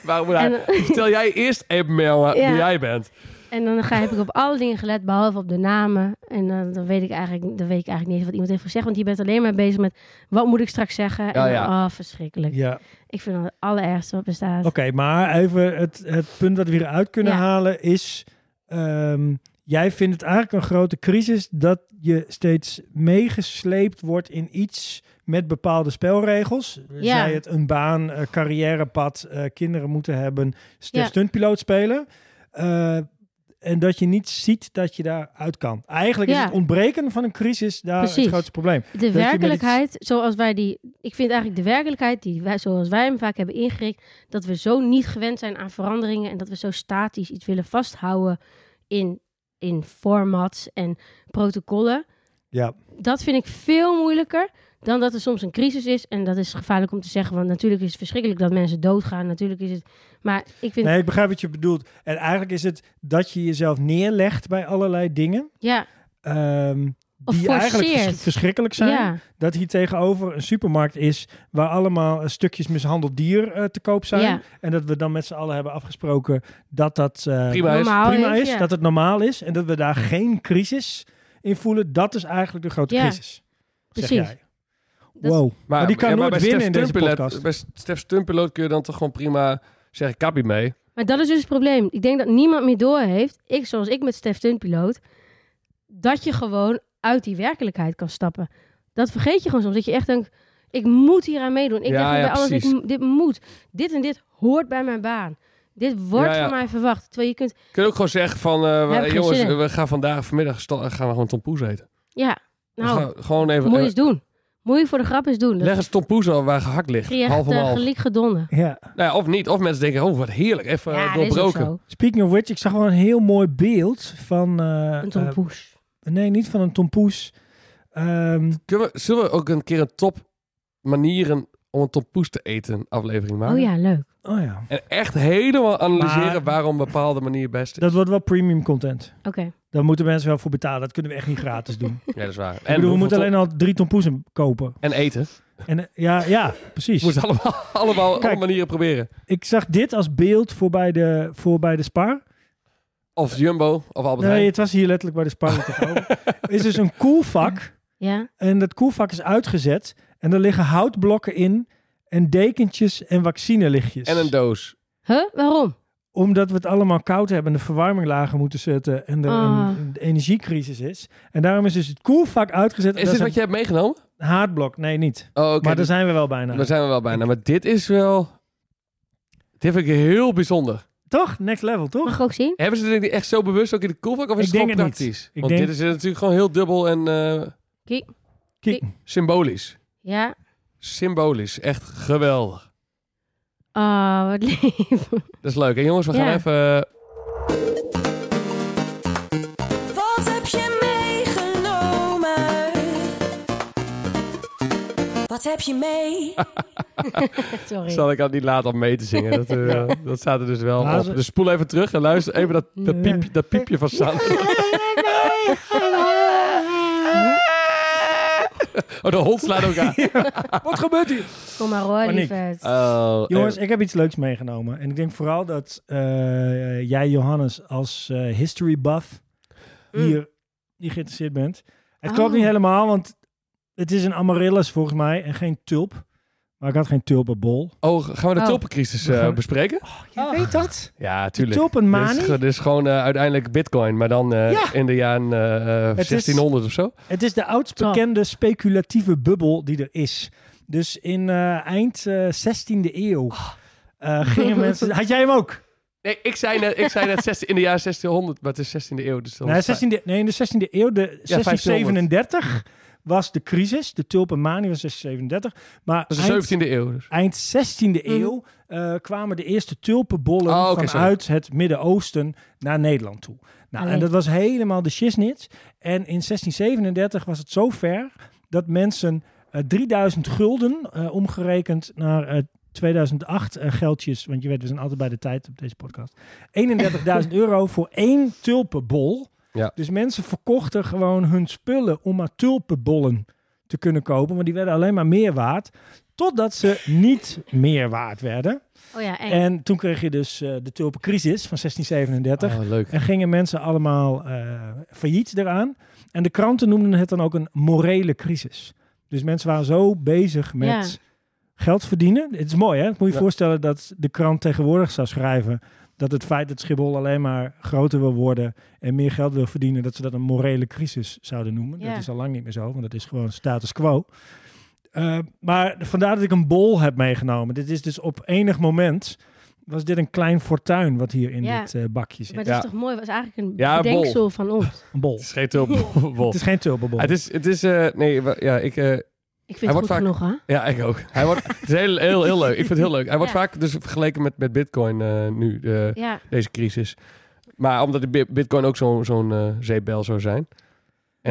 B: Waarom moet hij...
A: en,
B: Vertel jij eerst even Merel,
A: Ja.
B: wie jij bent.
A: en dan ga, heb ik op alle dingen gelet, behalve op de namen. En eh, dan, weet ik eigenlijk, dan weet ik eigenlijk niet eens wat iemand heeft gezegd. Want je bent alleen maar bezig met... Wat moet ik straks zeggen? en, dan,
B: ja.
A: Oh, verschrikkelijk.
C: Ja.
A: Ik vind dat het allerergste wat bestaat.
C: Oké, maar even het, het punt dat we hieruit kunnen
A: Ja.
C: halen is... ehm, jij vindt het eigenlijk een grote crisis dat je steeds meegesleept wordt in iets met bepaalde spelregels.
A: Ja.
C: Zij het een baan, eh, carrièrepad, eh, kinderen moeten hebben, st-
A: Ja.
C: stuntpiloot spelen. Eh, en dat je niet ziet dat je daaruit kan. Eigenlijk is
A: Ja.
C: het ontbreken van een crisis daar het
A: Precies.
C: grootste probleem.
A: De
C: je met iets-
A: werkelijkheid, zoals wij die. Ik vind eigenlijk de werkelijkheid, die wij, zoals wij hem vaak hebben ingericht, dat we zo niet gewend zijn aan veranderingen en dat we zo statisch iets willen vasthouden in, in formats en protocollen.
C: Ja.
A: Dat vind ik veel moeilijker dan dat er soms een crisis is. En dat is gevaarlijk om te zeggen, want natuurlijk is het verschrikkelijk dat mensen doodgaan. Natuurlijk is het. Maar ik vind.
C: Nee, ik begrijp wat je bedoelt. En eigenlijk is het dat je jezelf neerlegt bij allerlei dingen.
A: Ja,
C: ehm,
A: Of
C: die eigenlijk
A: forceert.
C: vers- verschrikkelijk zijn.
A: ja,
C: Dat hier tegenover een supermarkt is waar allemaal eh, stukjes mishandeld dier eh, te koop zijn.
A: ja.
C: En dat we dan met z'n allen hebben afgesproken dat dat eh,
B: Prima is.
A: Normaal
C: prima
A: is,
C: is,
A: ja.
C: dat het normaal is en dat we daar geen crisis in voelen. Dat is eigenlijk de grote
A: Ja,
C: crisis. zeg
A: precies.
C: jij.
A: Dat-
C: wow. Maar, die kan
B: ja, maar
C: nooit
B: bij
C: winnen in
B: Stef
C: deze
B: Stumpelet-
C: podcast.
B: Bij Stef Stumpeloot kun je dan toch gewoon prima zeggen, kappie mee.
A: Maar dat is dus het probleem. Ik denk dat niemand meer doorheeft, ik zoals ik met Stef Tunpiloot, dat je gewoon uit die werkelijkheid kan stappen. Dat vergeet je gewoon soms. Dat je echt denkt, ik moet hier aan meedoen. Ik leg
B: Ja,
A: me
B: ja,
A: bij alles, ik,
B: precies.
A: m- dit moet. Dit en dit hoort bij mijn baan. Dit wordt
B: Ja, ja.
A: van mij verwacht. Terwijl je kunt,
B: Kun je ook gewoon zeggen van, eh,
A: Heb ik geen
B: jongens,
A: zin in.
B: we gaan vandaag vanmiddag sta- gaan we gewoon tompoes eten.
A: ja,
B: We
A: nou,
B: gaan gewoon even...
A: moet je
B: eh,
A: eens doen. Moet je voor de grap eens doen. Dat
B: leg eens tompoes al waar gehakt ligt.
A: krijg je
B: half
A: echt
B: om
A: eh,
B: half.
A: geliek gedonnen.
C: Ja.
B: Nou ja, of niet. Of mensen denken, oh wat heerlijk, even eh,
A: Ja, dat is ook
B: doorbroken.
A: zo.
C: Speaking of which, ik zag wel een heel mooi beeld van... eh,
A: Een tompoes.
C: eh, nee, niet van een tompoes. Ehm,
B: Kunnen we, zullen we ook een keer een top manieren om een tompoes te eten aflevering maken?
A: oh ja, leuk.
C: oh ja,
B: En echt helemaal analyseren
C: Maar-
B: waarom een bepaalde manier het beste is.
C: dat wordt wel premium content.
A: Oké.
C: Daar moeten mensen wel voor betalen. Dat kunnen we echt niet gratis doen.
B: Ja, dat is waar.
C: ik bedoel, we
B: hoeveel
C: moeten
B: top-
C: alleen al drie tompoesen kopen.
B: En eten.
C: En, eh, ja, ja, precies.
B: Je moet allemaal, allemaal op
C: Kijk.
B: manieren proberen.
C: Ik zag dit als beeld voor bij de, voor bij de Spar.
B: Of Jumbo, of Albert
C: Nee,
B: Heijn.
C: het was hier letterlijk bij de Spar. wat ik over- is dus een koelvak.
A: Ja,
C: En dat koelvak is uitgezet. En er liggen houtblokken in. En dekentjes en vaccinelichtjes.
B: En een doos.
A: huh? Waarom?
C: Omdat we het allemaal koud hebben en de verwarming lager moeten zetten. En er
A: Ah.
C: een, een energiecrisis is. En daarom is dus het koelvak uitgezet. en
B: Is
C: dat
B: dit wat je hebt meegenomen?
C: een haardblok? Nee, niet.
B: Oh, oké.
C: maar daar
B: dus-
C: zijn we wel bijna.
B: daar zijn we wel bijna. Maar dit is wel... Dit vind ik heel bijzonder.
C: Toch? Next level, toch?
A: Mag ik ook zien?
B: Hebben ze dit echt zo bewust ook in de koelvak? Of is
C: Ik
B: het gewoon
C: denk het niet.
B: praktisch?
C: Ik
B: Want
C: denk-
B: dit is natuurlijk gewoon heel dubbel en eh,
C: Kijk,
B: symbolisch.
A: Ja.
B: Symbolisch. Echt geweldig.
A: Oh, wat lief.
B: Dat is leuk. En jongens, we gaan
A: Ja.
B: even... eh,
D: Wat heb je meegenomen? Wat heb je mee?
A: Sorry.
B: Zal ik al niet laat om mee te zingen. Dat, eh, dat staat er dus wel
C: Maar
B: op.
C: ze-
B: Dus spoel even terug en luister even dat, dat, piepje, dat piepje van San. Oh, de hond slaat ook aan.
C: Wat gebeurt hier?
A: Kom maar hoor,
C: Paniek.
A: lieverd.
B: Oh,
C: Jongens,
B: eh,
C: ik heb iets leuks meegenomen. En ik denk vooral dat eh, jij, Johannes, als eh, history buff hier niet geïnteresseerd bent. Het klopt
A: Oh.
C: niet helemaal, want het is een amaryllis volgens mij en geen tulp. Maar ik had geen tulpenbol.
B: oh, gaan we de
A: Oh.
B: tulpencrisis eh,
C: We gaan-
B: bespreken?
A: Oh.
C: Weet dat?
B: Ja,
C: De
B: tuurlijk. Dit
C: tulpenmanie?
B: is, ge- dit is gewoon eh, uiteindelijk bitcoin, maar dan eh,
C: Ja.
B: in de jaren eh, eh,
C: Het is-
B: 1600 of zo.
C: Het is de oudst bekende speculatieve bubbel die er is. Dus in eh, eind eh, 16e eeuw eh, gingen mensen... Had jij hem ook?
B: Nee, ik zei net, ik zei net 16, in de jaren 1600, maar het is 16e eeuw. Dus dan
C: Nee,
B: is het-
C: 16e, nee, in de 16e eeuw, de 1637 was de crisis. De tulpenmanie was 1637. Maar
B: Dat is
C: eind,
B: de 17e eeuw. Dus.
C: eind 16e eeuw eh, kwamen de eerste tulpenbollen
B: Oh, oké,
C: vanuit het Midden-Oosten naar Nederland toe. Nou,
A: Allee.
C: en dat was helemaal de shiznit. En in 1637 was het zo ver dat mensen eh, 3000 gulden, eh, omgerekend naar eh, 2008 eh, geldjes, want je weet, we zijn altijd bij de tijd op deze podcast, 31.000 euro voor één tulpenbol.
B: Ja.
C: Dus mensen verkochten gewoon hun spullen om maar tulpenbollen te kunnen kopen, want die werden alleen maar meer waard, totdat ze niet meer waard werden.
A: Oh ja, en,
B: eh,
C: En toen kreeg je dus eh, de tulpencrisis van 1637.
B: Oh, leuk.
C: En gingen mensen allemaal eh, failliet eraan. En de kranten noemden het dan ook een morele crisis. Dus mensen waren zo bezig met geld verdienen. Het is mooi, hè? Moet je je
B: Ja.
C: voorstellen dat de krant tegenwoordig zou schrijven... dat het feit dat Schiphol alleen maar groter wil worden... en meer geld wil verdienen, dat ze dat een morele crisis zouden noemen.
A: Ja.
C: Dat is al lang niet meer zo, want dat is gewoon status quo. Eh, maar vandaar dat ik een bol heb meegenomen. Dit is dus op enig moment... was dit een klein fortuin wat hier in
A: Ja.
C: dit eh, bakje zit.
A: maar het
B: Ja.
A: is toch mooi? Het was eigenlijk een
B: Ja, bol.
A: bedenksel van ons.
C: Een bol.
B: Het is geen tulpenbol.
C: Het is geen tulpenbol.
B: Het is, het is eh, nee, wa- ja, ik, eh,
A: Ik
B: Hij
A: vind het
B: wordt
A: goed
B: vaak-
A: genoeg, hè?
B: ja, ik ook. Hij wordt, het is heel, heel, heel leuk. Ik vind het heel leuk. Hij wordt
A: Ja.
B: vaak dus vergeleken met, met Bitcoin eh, nu, de,
A: Ja.
B: deze crisis. Maar omdat de bi- Bitcoin ook zo'n zo'n eh, zeepbel zou zijn. En,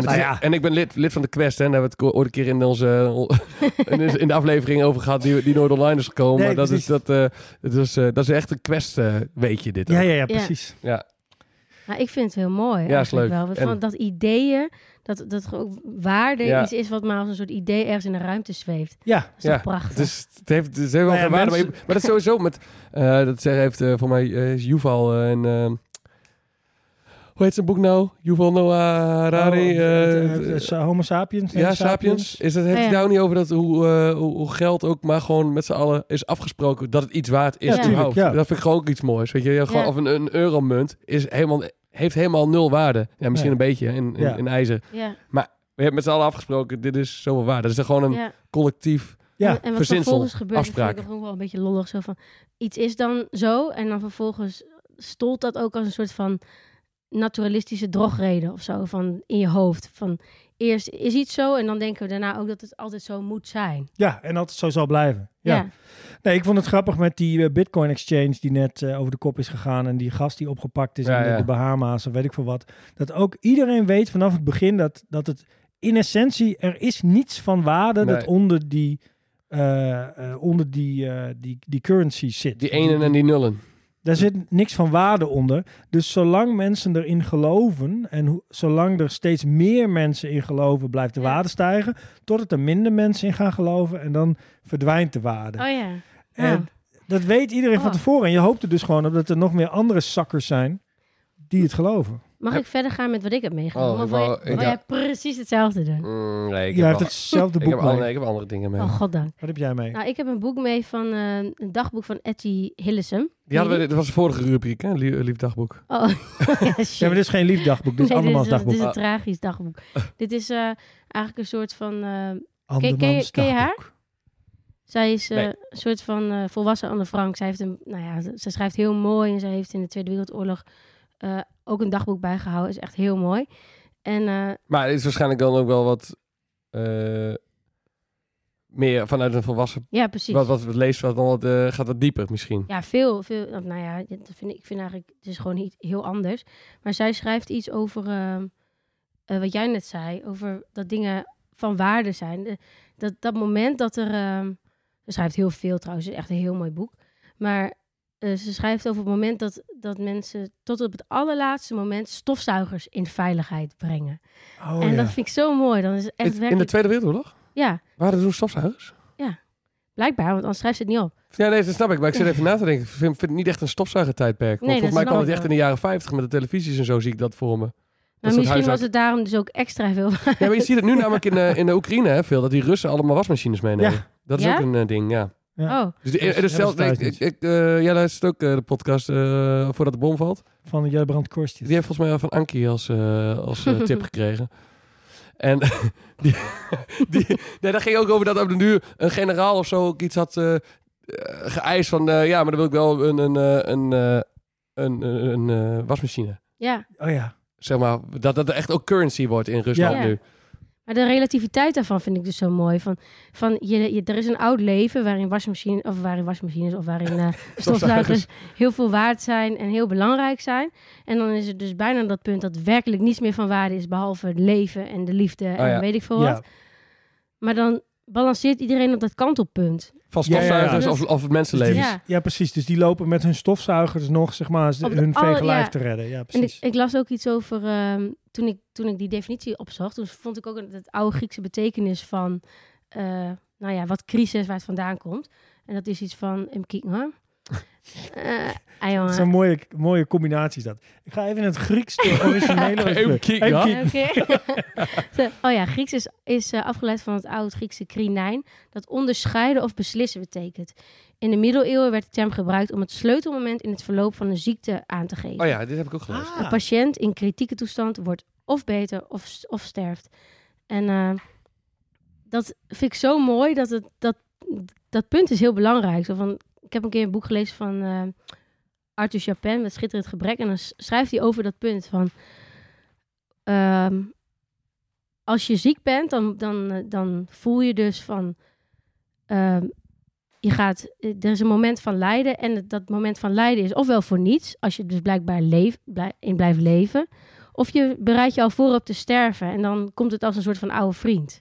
B: het
C: Nou
B: is-
C: ja.
B: en ik ben lid, lid van de Quest, hè, en daar hebben we het ko- ooit een keer in, onze, eh, in de- in de aflevering over gehad, die, die nooit online is gekomen.
C: Nee,
B: maar dat is,
C: precies.
B: dat, eh, dat, is, eh, dat is echt een Quest, eh, weet je dit.
C: Ja,
B: ook.
C: ja, ja, precies.
A: Nou, ik vind het heel mooi.
B: Ja, is
A: eigenlijk
B: leuk.
A: Wel.
B: En-
A: Van dat ideeën, dat, dat er ook waarde
B: Ja.
A: iets is wat maar als een soort idee ergens in de ruimte zweeft.
C: Ja,
A: Dat is toch
B: Ja,
A: prachtig?
B: Het, is, het heeft, het heeft wel
C: Nou ja,
B: geen waarde.
C: mensen-
B: Maar, je- maar dat is sowieso met... eh, dat zeg, heeft eh, voor mij eh, is Yuval eh, en... eh, Hoe heet zijn boek nou? Yuval Noah Harari.
C: Oh, het-
B: eh,
C: het- het- het- Homo sapiens.
B: ja, Sapiens. Is dat, heeft
A: Oh,
B: hij
A: ja.
B: daar niet over dat hoe, eh, hoe, hoe geld ook maar gewoon met z'n allen is afgesproken dat het iets waard is?
A: Ja,
B: überhaupt?
C: tuurlijk, ja.
B: Dat vind ik gewoon ook iets moois. Weet je, je hebt gewoon,
A: Ja.
B: Of een, een euromunt is helemaal, heeft helemaal nul waarde. Ja, misschien
C: Ja.
B: een beetje in, in,
C: Ja.
B: in ijzer.
A: Ja,
B: We hebben met z'n allen afgesproken, dit is zoveel waarde. Dat is dan gewoon een
A: ja.
B: collectief
C: Ja,
A: en wat
B: verzinsel,
A: vervolgens gebeurt, dat vind
B: afspraak.
A: ik toch ook wel een beetje lollig. Zo van, iets is dan zo en dan vervolgens stolt dat ook als een soort van naturalistische drogreden of zo van in je hoofd. Van eerst is iets zo en dan denken we daarna ook dat het altijd zo moet zijn.
C: Ja, en dat het zo zal blijven. Ja.
A: Ja,
C: Nee, ik vond het grappig met die eh, Bitcoin Exchange die net eh, over de kop is gegaan. En die gast die opgepakt is
B: Ja,
C: in de-
B: ja.
C: de Bahama's of weet ik veel wat. Dat ook iedereen weet vanaf het begin dat, dat het in essentie, er is niets van waarde dat
B: Nee.
C: onder die, eh, eh, onder die, eh, die, die currency zit.
B: die enen en die nullen.
C: Daar zit niks van waarde onder. Dus zolang mensen erin geloven en hoe- zolang er steeds meer mensen in geloven, blijft de
A: Ja.
C: waarde stijgen. Totdat er minder mensen in gaan geloven en dan verdwijnt de waarde.
A: Oh ja. Ja.
C: En dat weet iedereen van
A: Oh.
C: tevoren. En je hoopt er dus gewoon op dat er nog meer andere zakkers zijn die het geloven.
A: Mag ik verder gaan met wat ik heb meegenomen?
B: Oh,
A: of
B: ik
A: wil,
B: wou-
A: jij-
B: ik
A: wil
B: wou-
A: jij precies hetzelfde doen?
B: Mm, nee, ik
C: Jij
B: heb,
C: hebt
B: al-
C: hetzelfde
B: ik, heb
C: boek
B: andere,
C: mee.
B: ik heb andere dingen mee.
A: Oh, goddank.
C: Wat heb jij mee?
A: Nou, ik heb een boek mee van eh, een dagboek van Etty Hillesum.
B: die hadden we, dat was de vorige rubriek, hè? eh, Lief, lief dagboek.
A: Oh, ja, shit.
C: Ja, maar dit is geen liefdagboek, dit is
A: Nee,
C: andermans
A: Dit
C: dagboek.
A: is een
B: Ah.
A: tragisch dagboek. dit is eh, eigenlijk een soort van... eh, ken je-
C: Andermans
A: ken je haar?
C: dagboek.
A: zij is eh,
B: Nee.
A: een soort van eh, volwassen Anne Frank. Zij, heeft een, nou ja, ze- ze schrijft heel mooi en zij heeft in de Tweede Wereldoorlog eh, ook een dagboek bijgehouden. Is echt heel mooi. En eh,
B: Maar het is waarschijnlijk dan ook wel wat eh, meer vanuit een volwassen...
A: ja, precies.
B: Wat, wat we leest, wat dan wat, eh, gaat wat dieper misschien.
A: Ja, veel, veel. Nou ja, dat vind ik, ik vind eigenlijk, het is gewoon niet heel anders. Maar zij schrijft iets over ehm, eh, wat jij net zei, over dat dingen van waarde zijn. De- dat, dat moment dat er, ehm, ze schrijft heel veel trouwens, het is echt een heel mooi boek. Maar eh, ze schrijft over het moment dat, dat mensen tot op het allerlaatste moment stofzuigers in veiligheid brengen.
C: Oh,
A: en
C: ja.
A: dat vind ik zo mooi. Dan is het echt
B: In- in de
A: werkelijk,
B: Tweede Wereldoorlog?
A: ja,
B: Waren er toen stofzuigers?
A: blijkbaar, want anders schrijft ze het niet op.
B: Ja, nee, dat snap ik. Maar ik zit even na te denken. Ik vind, vind het niet echt een stofzuigertijdperk. Want
A: Nee, dat
B: volgens mij kwam het
A: snap
B: echt
A: ik
B: in de jaren 50 met de televisies en zo zie ik dat voor me.
A: Maar
B: soort
A: misschien was
B: huishouden-
A: het daarom dus ook extra veel.
B: Ja, maar je ziet het nu namelijk in, eh, in de Oekraïne hè, veel, dat die Russen allemaal wasmachines meenemen. Dat is
A: Ja?
B: ook een eh, ding, ja.
C: Ja.
A: Oh,
B: Dus, eh, eh,
C: Dat is-
B: dus
C: dat is
B: zelfs, ik,
C: thuis
B: ik,
C: niet.
B: ik, eh, jij luistert ook eh, de podcast eh, voordat de bom valt.
C: Van Jelbrand Korstjes.
B: Die heeft volgens mij wel van Ankie als, eh, als eh, tip gekregen. En die, die, nee, daar ging ook over dat op de duur een generaal of zo ook iets had eh, eh, geëist van... eh, ja, maar dan wil ik wel een, een, eh, een, eh, een, een, een, eh, wasmachine.
A: ja.
C: Oh ja.
B: Zeg maar, dat dat er echt ook currency wordt in Rusland
A: Ja.
B: nu.
A: Maar de relativiteit daarvan vind ik dus zo mooi. Van, van je, je, er is een oud leven waarin, wasmachine, of waarin wasmachines of waarin eh, stofzuigers heel veel waard zijn en heel belangrijk zijn. En dan is het dus bijna dat punt dat werkelijk niets meer van waarde is, behalve het leven en de liefde en
B: Oh ja.
A: weet ik veel
C: Ja.
A: wat. Maar dan balanceert iedereen op dat kantelpunt.
B: Van
C: Ja, ja, ja.
B: stofzuigers
A: Dat-
B: Of, of mensenlevens.
A: Ja.
C: Ja, precies. Dus die lopen met hun stofzuigers nog, zeg maar,
A: Op de-
C: hun
A: oh,
C: vege
A: ja.
C: lijf te redden. Ja,
A: En ik,
C: precies.
A: ik las ook iets over, ehm, toen, ik, toen ik die definitie opzocht, toen vond ik ook een- dat oude Griekse betekenis van, eh, nou ja, wat crisis, waar het vandaan komt. En dat is iets van, even kijken hoor. Eh, ah, jongen.
C: Het zijn mooie, mooie combinaties dat. Ik ga even in het Grieks de originele...
B: Even kijken,
C: Even
B: ja.
C: kijken.
A: Oké. Zo, oh ja, Grieks is, is eh, afgeleid van het oud-Griekse krinijn, dat onderscheiden of beslissen betekent. In de middeleeuwen werd de term gebruikt om het sleutelmoment in het verloop van een ziekte aan te geven.
B: Oh ja, dit heb ik ook
C: Ah.
B: gelezen.
A: Een patiënt in kritieke toestand wordt of beter of, s- of sterft. En eh, dat vind ik zo mooi dat het dat, dat punt is heel belangrijk. Zo van, ik heb een keer een boek gelezen van eh, Arthur Chapin met Schitterend Gebrek. En dan s- schrijft hij over dat punt van. ehm, als je ziek bent, dan, dan, eh, dan voel je dus van. ehm, je gaat, eh, er is een moment van lijden. En het- dat moment van lijden is ofwel voor niets, als je dus blijkbaar leef, blij- in blijft leven. Of je bereidt je al voor op te sterven. En dan komt het als een soort van oude vriend.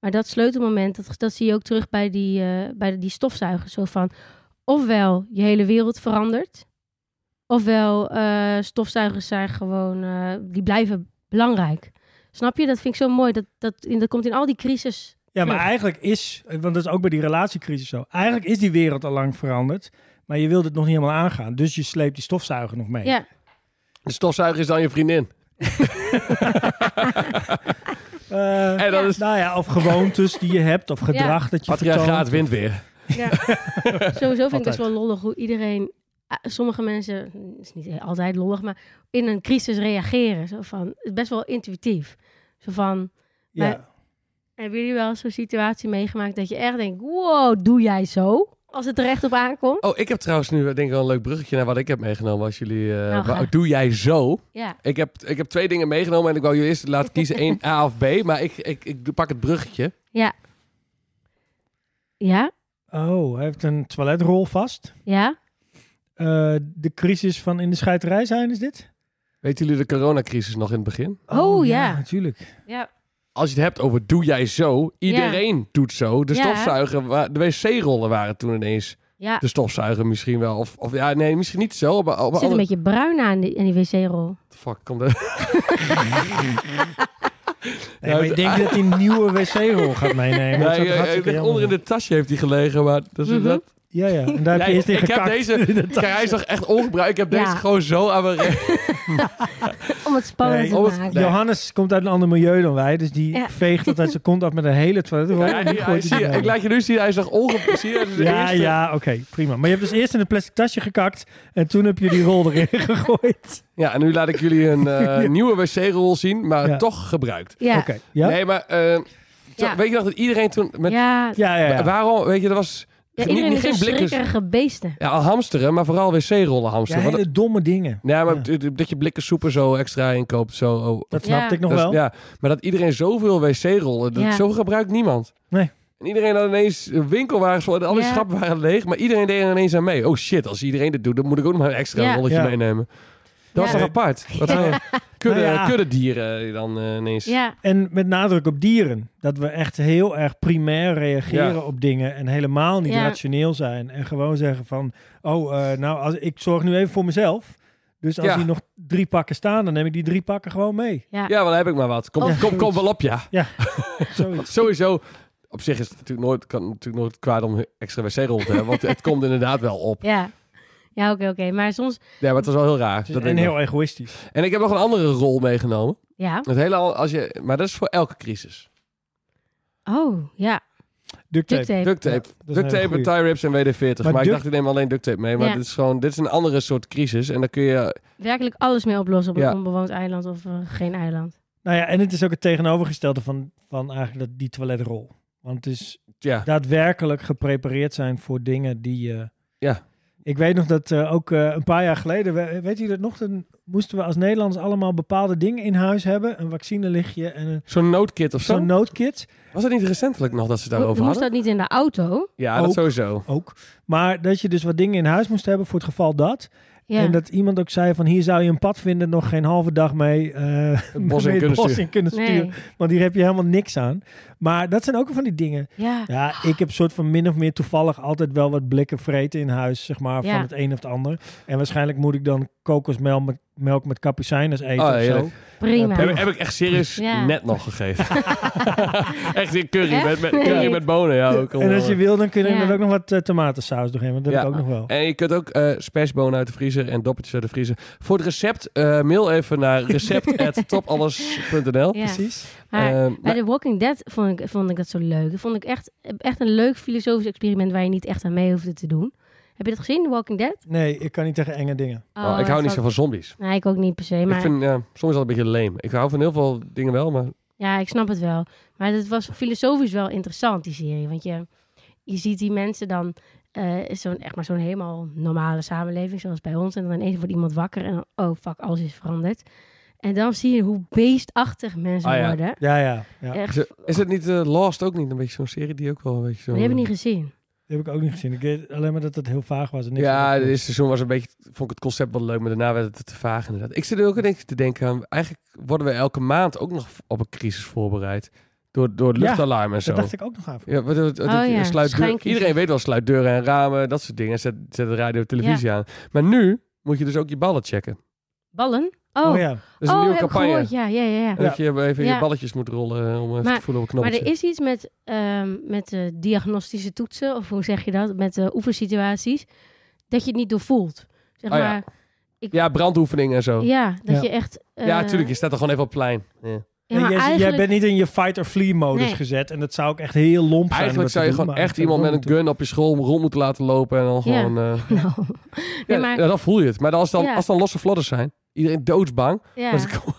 A: Maar dat sleutelmoment, dat, dat zie je ook terug bij die, eh, bij die stofzuiger. Zo van, ofwel je hele wereld verandert. Ofwel eh, stofzuigers zijn gewoon, eh, die blijven belangrijk. Snap je? Dat vind ik zo mooi. Dat, dat, in- dat komt in al die crisis,
C: Ja, maar eigenlijk is, want dat is ook bij die relatiecrisis zo. Eigenlijk is die wereld al lang veranderd, maar je wilt het nog niet helemaal aangaan. Dus je sleept die stofzuiger nog mee.
A: Ja,
B: De stofzuiger is dan je vriendin.
C: Eh,
B: En dat
A: Ja.
B: is
C: nou ja, of gewoontes die je hebt, of gedrag dat je
B: patriarchaat
C: vertoont.
B: wint weer.
A: ja. sowieso vind ik
C: Altijd.
A: best wel lollig hoe iedereen... ah, Sommige mensen, het is niet altijd lollig, maar in een crisis reageren. Zo van, het is best wel intuïtief. Zo van,
C: Ja.
A: hebben jullie wel eens zo'n situatie meegemaakt dat je echt denkt... Wow, doe jij zo? Als het er echt op aankomt.
B: Oh, ik heb trouwens nu denk ik wel een leuk bruggetje naar wat ik heb meegenomen. Als jullie, eh,
A: Nou,
B: wou-
A: ga.
B: doe jij zo?
A: Ja,
B: Ik heb, ik heb twee dingen meegenomen en ik wou jullie eerst laten kiezen één A of B. Maar ik, ik, ik pak het bruggetje.
A: ja. Ja,
C: Oh, hij heeft een toiletrol vast.
A: ja.
C: Eh, de crisis van in de scheiterij zijn, is dit?
B: Weten jullie de coronacrisis nog in het begin?
A: Oh, ja.
C: natuurlijk.
A: Ja,
B: Als je het hebt over doe jij zo, iedereen doet zo. De
A: Ja.
B: stofzuiger, wa- de wc-rollen waren toen ineens
A: ja.
B: de stofzuiger misschien wel. Of, of ja, nee, misschien niet zo. Maar, maar
A: Er zit een
B: andere-
A: beetje bruin aan die, aan die wc-rol.
B: Fuck, kom er.
C: Nee, maar ik denk dat hij een nieuwe wc-rol gaat meenemen.
B: Nee,
C: Dat zou
B: eh,
C: toch
B: eh,
C: hartstikke jammer
B: onder in
C: zijn?
B: de tasje heeft hij gelegen, maar dat is
A: Mhm.
B: dat.
C: Ja, ja. En daar heb je
B: Ja,
C: eerst in
B: ik heb
C: gekakt.
B: deze, Kijk, hij is nog echt ongebruikt. Ik heb
A: Ja.
B: deze gewoon zo aan mijn recht.
A: Om het spannend
C: Nee,
A: te
B: om het-
A: maken.
B: Nee.
C: Johannes komt uit een ander milieu dan wij, dus die
A: Ja.
C: veegt altijd zijn kont af met een hele toiletrol.
B: Ja,
C: en die
B: hij-
C: gooit
B: zie
C: die
B: je,
C: erin.
B: ik laat je nu zien, hij is nog ongebruikt. Zie je, hij is de
C: ja,
B: eerste.
C: ja, oké, prima. Maar je hebt dus eerst in een plastic tasje gekakt en toen heb je die rol erin gegooid.
B: Ja, en nu laat ik jullie een eh, nieuwe wc-rol zien, maar
C: Ja.
B: toch gebruikt.
A: Ja.
C: Oké, ja?
B: Nee, maar eh, to-
A: Ja.
B: weet je nog dat iedereen toen... Met,
A: ja.
C: ja, ja, ja.
B: Waarom, weet je, er was
A: Ja,
B: niet,
A: iedereen is
B: niet geen
A: een
B: blikken...
A: schrikkerige beesten.
B: Ja, al hamsteren, maar vooral wc-rollen
C: Ja,
B: hamsteren. Want dat-
C: hele domme dingen.
B: Ja, maar
C: Ja.
B: d- d- dat je blikken soep er zo extra in koopt, zo... oh,
C: Dat
A: Ja.
C: snapte ik nog
B: dat is-
C: wel.
B: Ja, maar dat iedereen zoveel wc-rollen, dat
A: Ja.
B: zo gebruikt niemand.
C: Nee.
B: En iedereen had ineens eh, winkelwagens vol en alle
A: Ja.
B: schappen waren leeg, maar iedereen deed er ineens aan mee. Oh shit, als iedereen dit doet, dan moet ik ook nog maar een extra
A: Ja.
B: rolletje
C: Ja.
B: meenemen. Dat was
A: Ja.
B: toch apart? Wat eh, kudde,
C: Nou ja.
B: kudde dieren die dan eh, ineens...
A: Ja,
C: En met nadruk op dieren. Dat we echt heel erg primair reageren
B: Ja.
C: op dingen en helemaal niet
A: Ja.
C: rationeel zijn. En gewoon zeggen van, oh, eh, nou, als, ik zorg nu even voor mezelf. Dus als
B: Ja.
C: hier nog drie pakken staan, dan neem ik die drie pakken gewoon mee.
A: ja.
B: Ja, wel heb ik maar wat. Kom,
A: Ja.
B: kom, kom wel op, ja.
C: Zoiets.
B: Sowieso, op zich is het natuurlijk nooit, kan het natuurlijk nooit kwaad om extra wc-rol te hebben, want het komt inderdaad wel op.
A: Ja, ja oké, oké. Maar soms...
B: Ja, maar het was wel heel raar.
C: Dus-
B: Dat weet
C: en
B: ik nog.
C: heel egoïstisch.
B: en ik heb nog een andere rol meegenomen.
A: Ja.
B: Het hele, al- als je, maar dat is voor elke crisis.
A: Oh, ja.
C: Duct tape.
A: Duct tape.
B: Duct tape.
C: Ja, dat is
B: duct
C: een hele
B: tape en
C: goeie.
B: tie rips en WD-40. Maar,
C: Maar
B: ik
C: duct-
B: dacht, ik neem alleen duct tape mee. Maar
A: Ja.
B: dit, is gewoon, dit is een andere soort crisis. En dan kun je...
A: Werkelijk alles mee oplossen op een
B: Ja.
A: onbewoond eiland of eh, geen eiland.
C: Nou ja, en het is ook het tegenovergestelde van, van eigenlijk dat, die toiletrol. Want het is
B: Ja,
C: daadwerkelijk geprepareerd zijn voor dingen die... eh,
B: Ja.
C: Ik weet nog dat eh, ook eh, een paar jaar geleden, we- weet je dat nog? Dan moesten we als Nederlanders allemaal bepaalde dingen in huis hebben. Een vaccinelichtje en een,
B: zo'n noodkit of zo.
C: zo'n noodkit
B: Was het niet recentelijk nog dat ze het
A: Ho-
B: daarover
A: Moest
B: hadden?
A: dat niet in de auto?
B: Ja, dat
C: Ook.
B: sowieso.
C: ook. Maar dat je dus wat dingen in huis moest hebben voor het geval dat.
A: Ja.
C: En dat iemand ook zei van hier zou je een pad vinden, nog geen halve dag mee, eh,
B: in kunnen
C: mee het bos
B: sturen.
C: in kunnen sturen.
A: nee.
C: Want hier heb je helemaal niks aan. Maar dat zijn ook wel van die dingen.
A: Ja.
C: Ja, ik heb soort van min of meer toevallig altijd wel wat blikken vreten in huis, zeg maar,
A: Ja.
C: van het een of het ander. En waarschijnlijk moet ik dan kokosmelk met, melk met kapucijners eten
B: Oh,
C: of zo.
B: heerlijk.
A: Prima.
B: Heb, heb ik echt serieus
A: Ja.
B: net nog gegeven. echt die curry,
A: Echt?
B: Met, met, curry
A: Nee.
B: met bonen. Ja, ook
C: En als je wil, dan kunnen
A: Ja.
C: er ook nog wat eh, tomatensaus doorheen, want dat heb
B: Ja.
C: ik ook nog wel.
B: En je kunt ook eh spesbonen uit de vriezer en doppertjes uit de vriezer. Voor het recept, eh, mail even naar recept.topalles.nl.
A: Ja.
C: Precies.
A: Maar
B: Ehm,
A: bij The Walking Dead vond ik, vond ik dat zo leuk. Dat vond ik echt, echt een leuk filosofisch experiment waar je niet echt aan mee hoefde te doen. Heb je dat gezien, The Walking Dead?
C: Nee, ik kan niet tegen enge dingen.
B: nou,
A: Oh,
B: ik hou niet zo van zombies.
A: Nee, ik ook niet per se. Maar
B: Ik vind, ja, soms is dat een beetje leem. Ik hou van heel veel dingen wel, maar
A: Ja, ik snap het wel. Maar het was filosofisch wel interessant, die serie. Want je, je ziet die mensen dan... eh, is zo'n, echt maar zo'n helemaal normale samenleving, zoals bij ons. En dan ineens wordt iemand wakker en dan... Oh, fuck, alles is veranderd. En dan zie je hoe beestachtig mensen
B: Ah, ja.
A: worden.
C: Ja, ja, ja.
A: Echt,
B: Is het, is het niet eh, Lost ook niet een beetje zo'n serie die ook wel een beetje zo...
A: maar die hebben niet gezien.
C: Die heb ik ook niet gezien. Ik weet alleen maar dat het heel vaag was. En niks
B: ja,
C: over-
B: het eerste seizoen was een beetje, vond ik het concept wel leuk, maar daarna werd het te vaag inderdaad. Ik zit er ook in één keer te denken aan, eigenlijk worden we elke maand ook nog op een crisis voorbereid. Door, door
C: Ja,
B: luchtalarm en zo.
C: dat dacht ik ook nog aan.
B: Ja, wat, wat- wat-
A: Oh ja,
B: sluit deur-
A: schijncrisis.
B: iedereen weet wel, sluit deuren en ramen, dat soort dingen. Zet, zet de radio en televisie aan. Maar nu moet je dus ook je ballen checken.
A: Ballen? Oh,
C: ja.
B: Dat is een
A: oh,
B: nieuwe
A: heb ik
B: campagne.
A: gehoord. Ja, ja, ja. ja.
C: Ja.
B: Dat je even je
A: Ja.
B: balletjes moet rollen eh, om even te
A: Maar-
B: voelen hoe
A: Maar
B: knopjes.
A: er is iets met, ehm, met eh, diagnostische toetsen, of hoe zeg je dat? Met eh, oefensituaties, dat je het niet doorvoelt. Zeg
B: Oh ja.
A: maar,
B: Ja, brandoefeningen en zo.
A: ja.
B: Ja,
A: dat
C: Ja.
A: je echt... eh,
B: tuurlijk. Je staat er gewoon even op het plein. Ja.
A: Ja, maar
C: Nee, jij,
A: eigenlijk,
C: jij bent niet in je fight or flee modus
A: Nee.
C: gezet. En dat zou ook echt heel lomp zijn. om
B: Eigenlijk
C: dat
B: zou
C: te
B: je
C: doen,
B: gewoon
C: maar
B: echt
C: dat
B: iemand met
C: doen
B: een
C: we natuurlijk.
B: gun op je school rond moeten laten lopen. En dan
A: Ja.
B: gewoon... eh,
A: Nou,
B: ja,
A: maar-
B: ja, dat voel je het. Maar als dan,
A: Ja.
B: als dan losse vlodders zijn. Iedereen doodsbang.
A: ja.
B: Dat is gewoon-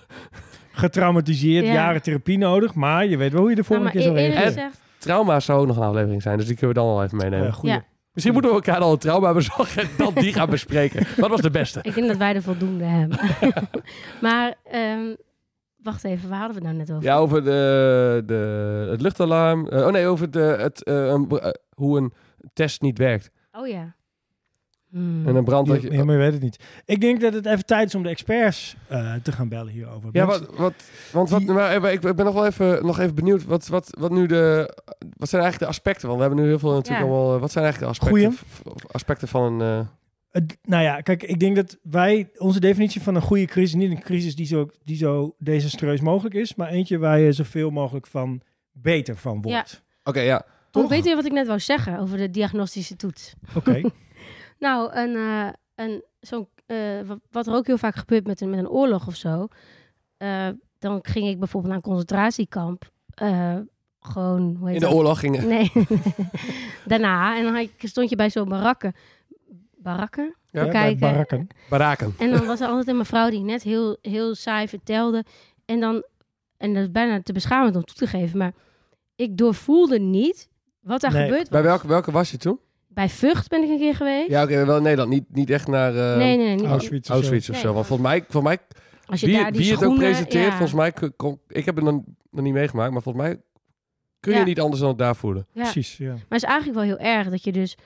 C: Getraumatiseerd,
A: Ja.
C: jaren therapie nodig. Maar je weet wel hoe je de
A: Nou,
C: volgende
A: maar
C: keer zou
A: eerlijk
C: reageren.
A: gezegd,
B: Trauma zou ook nog een aflevering zijn. Dus die kunnen we dan wel even meenemen.
C: Eh, goeie.
A: Ja.
B: Misschien moeten we elkaar al een trauma bezorgen. En dan die gaan bespreken. Wat was de beste?
A: ik denk dat wij er voldoende hebben. maar, ehm, wacht even, waar hadden we het nou net over?
B: Ja, over de, de, het luchtalarm. Eh, oh nee, over de, het, eh, een br- eh, hoe een test niet werkt.
A: Oh ja. Hmm.
B: En een brand... dat je-
C: Ja, maar je weet het niet. Ik denk dat het even tijd is om de experts eh, te gaan bellen hierover.
B: Ja,
C: Mensen-
B: wat, wat, want wat,
C: Die-
B: maar ik ik ben nog wel even, nog even benieuwd. Wat, wat, wat, nu de, wat zijn eigenlijk de aspecten? Want we hebben nu heel veel natuurlijk
A: Ja.
B: allemaal... eh, Wat zijn eigenlijk de
C: Goeie.
B: aspecten, v- v- aspecten van een... eh,
C: Het- nou ja, kijk, ik denk dat wij onze definitie van een goede crisis, niet een crisis die zo, die zo desastreus mogelijk is, maar eentje waar je zoveel mogelijk van beter van wordt.
B: Oké, ja.
A: Oh,
C: Toch?
A: weet je wat ik net wou zeggen over de diagnostische toets?
C: Oké.
A: Nou, een, eh, een, zo'n, eh, wa- wat er ook heel vaak gebeurt met een, met een oorlog of zo. eh, dan ging ik bijvoorbeeld naar een concentratiekamp. eh, gewoon, hoe heet
B: In de
A: dat?
B: oorlog gingen...
A: Nee. Daarna. En dan had ik- stond je bij zo'n barakken. Barakken?
B: Ja,
C: bij
A: kijken.
C: Barakken.
B: Baraken.
A: En dan was er altijd een mevrouw die net heel, heel saai vertelde. En dan, en dat is bijna te beschamend om toe te geven, maar ik doorvoelde niet wat daar
C: Nee.
A: gebeurd was.
B: Bij welke, welke was je toen?
A: Bij Vught ben ik een keer geweest.
B: Ja, oké, wel in Nederland. Niet, niet echt naar... eh,
A: nee, nee, nee. niet-
C: Auschwitz. of zo.
B: Auschwitz of
A: Nee.
B: zo. Want volgens mij, volgens mij
A: Als je
B: wie,
A: daar die
B: wie het ook
A: schoenen-
B: presenteert,
A: ja.
B: volgens mij, k- kom- ik heb het nog, nog niet meegemaakt, maar volgens mij kun je
A: Ja.
B: niet anders dan het daar voelen.
A: Ja.
C: Precies, ja.
A: Maar het is eigenlijk wel heel erg dat je dus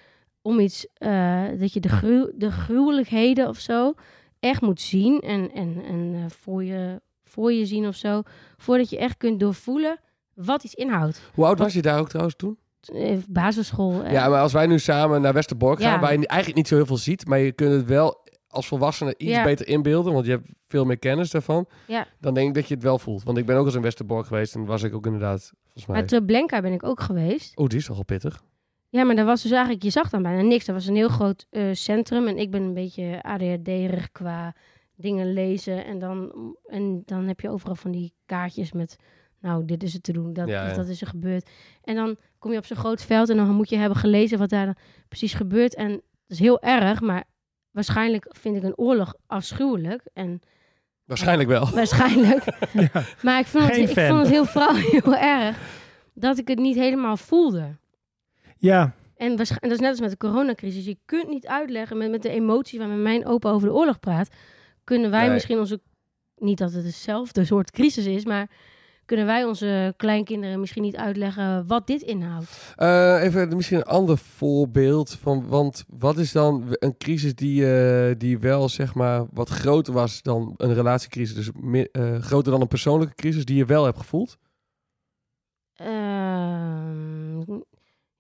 A: om iets, eh, dat je de, gru de gruwelijkheden of zo echt moet zien en, en, en eh, voor, je, voor je zien of zo, voordat je echt kunt doorvoelen wat iets inhoudt.
B: Hoe oud was je daar ook trouwens toen?
A: Eh, basisschool. eh,
B: Ja, maar als wij nu samen naar Westerbork gaan,
A: Ja.
B: waar je ni- eigenlijk niet zo heel veel ziet, maar je kunt het wel als volwassene iets
A: Ja.
B: beter inbeelden, want je hebt veel meer kennis daarvan,
A: Ja.
B: dan denk ik dat je het wel voelt. Want ik ben ook eens in Westerbork geweest en was ik ook inderdaad, volgens mij...
A: Maar Treblenka ben ik ook geweest.
B: Oh, die is nogal pittig.
A: Ja, maar daar was dus eigenlijk, je zag dan bijna niks. Dat was een heel groot eh, centrum en ik ben een beetje ADHD-erig qua dingen lezen. En dan, en dan heb je overal van die kaartjes met, nou, dit is er te doen, dat,
B: Ja,
A: of
B: ja.
A: dat is er gebeurd. En dan kom je op zo'n groot veld en dan moet je hebben gelezen wat daar dan precies gebeurt. En dat is heel erg, maar waarschijnlijk vind ik een oorlog afschuwelijk. En
B: Waarschijnlijk wel.
A: waarschijnlijk. Maar ik vond, het,
C: Geen
A: ik
C: fan.
A: vond het heel vrouw heel erg dat ik het niet helemaal voelde.
C: Ja,
A: En, waarsch- en dat is net als met de coronacrisis. Je kunt niet uitleggen met, met de emotie waarmee mijn opa over de oorlog praat. Kunnen wij
B: Nee.
A: misschien onze. Niet dat het hetzelfde soort crisis is, maar kunnen wij onze kleinkinderen misschien niet uitleggen wat dit inhoudt?
B: Eh, even misschien een ander voorbeeld van, want wat is dan een crisis die, eh, die wel zeg maar wat groter was dan een relatiecrisis, dus mi- eh, groter dan een persoonlijke crisis die je wel hebt gevoeld?
A: Ehm,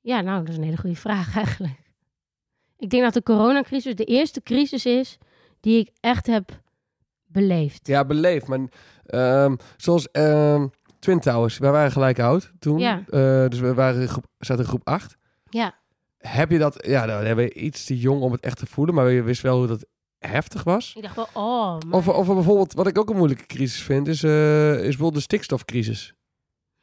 A: ja, nou, dat is een hele goede vraag eigenlijk. Ik denk dat de coronacrisis de eerste crisis is die ik echt heb beleefd.
B: Ja, beleefd, maar ehm, zoals ehm, Twin Towers, wij waren gelijk oud toen,
A: Ja.
B: Eh, dus we waren in groep, zaten in groep 8.
A: Ja.
B: Heb je dat, ja, nou, dan ben je iets te jong om het echt te voelen, maar je wist wel hoe dat heftig was.
A: Ik dacht wel, oh, maar-
B: Of, of bijvoorbeeld, wat ik ook een moeilijke crisis vind, is, eh, is bijvoorbeeld de stikstofcrisis.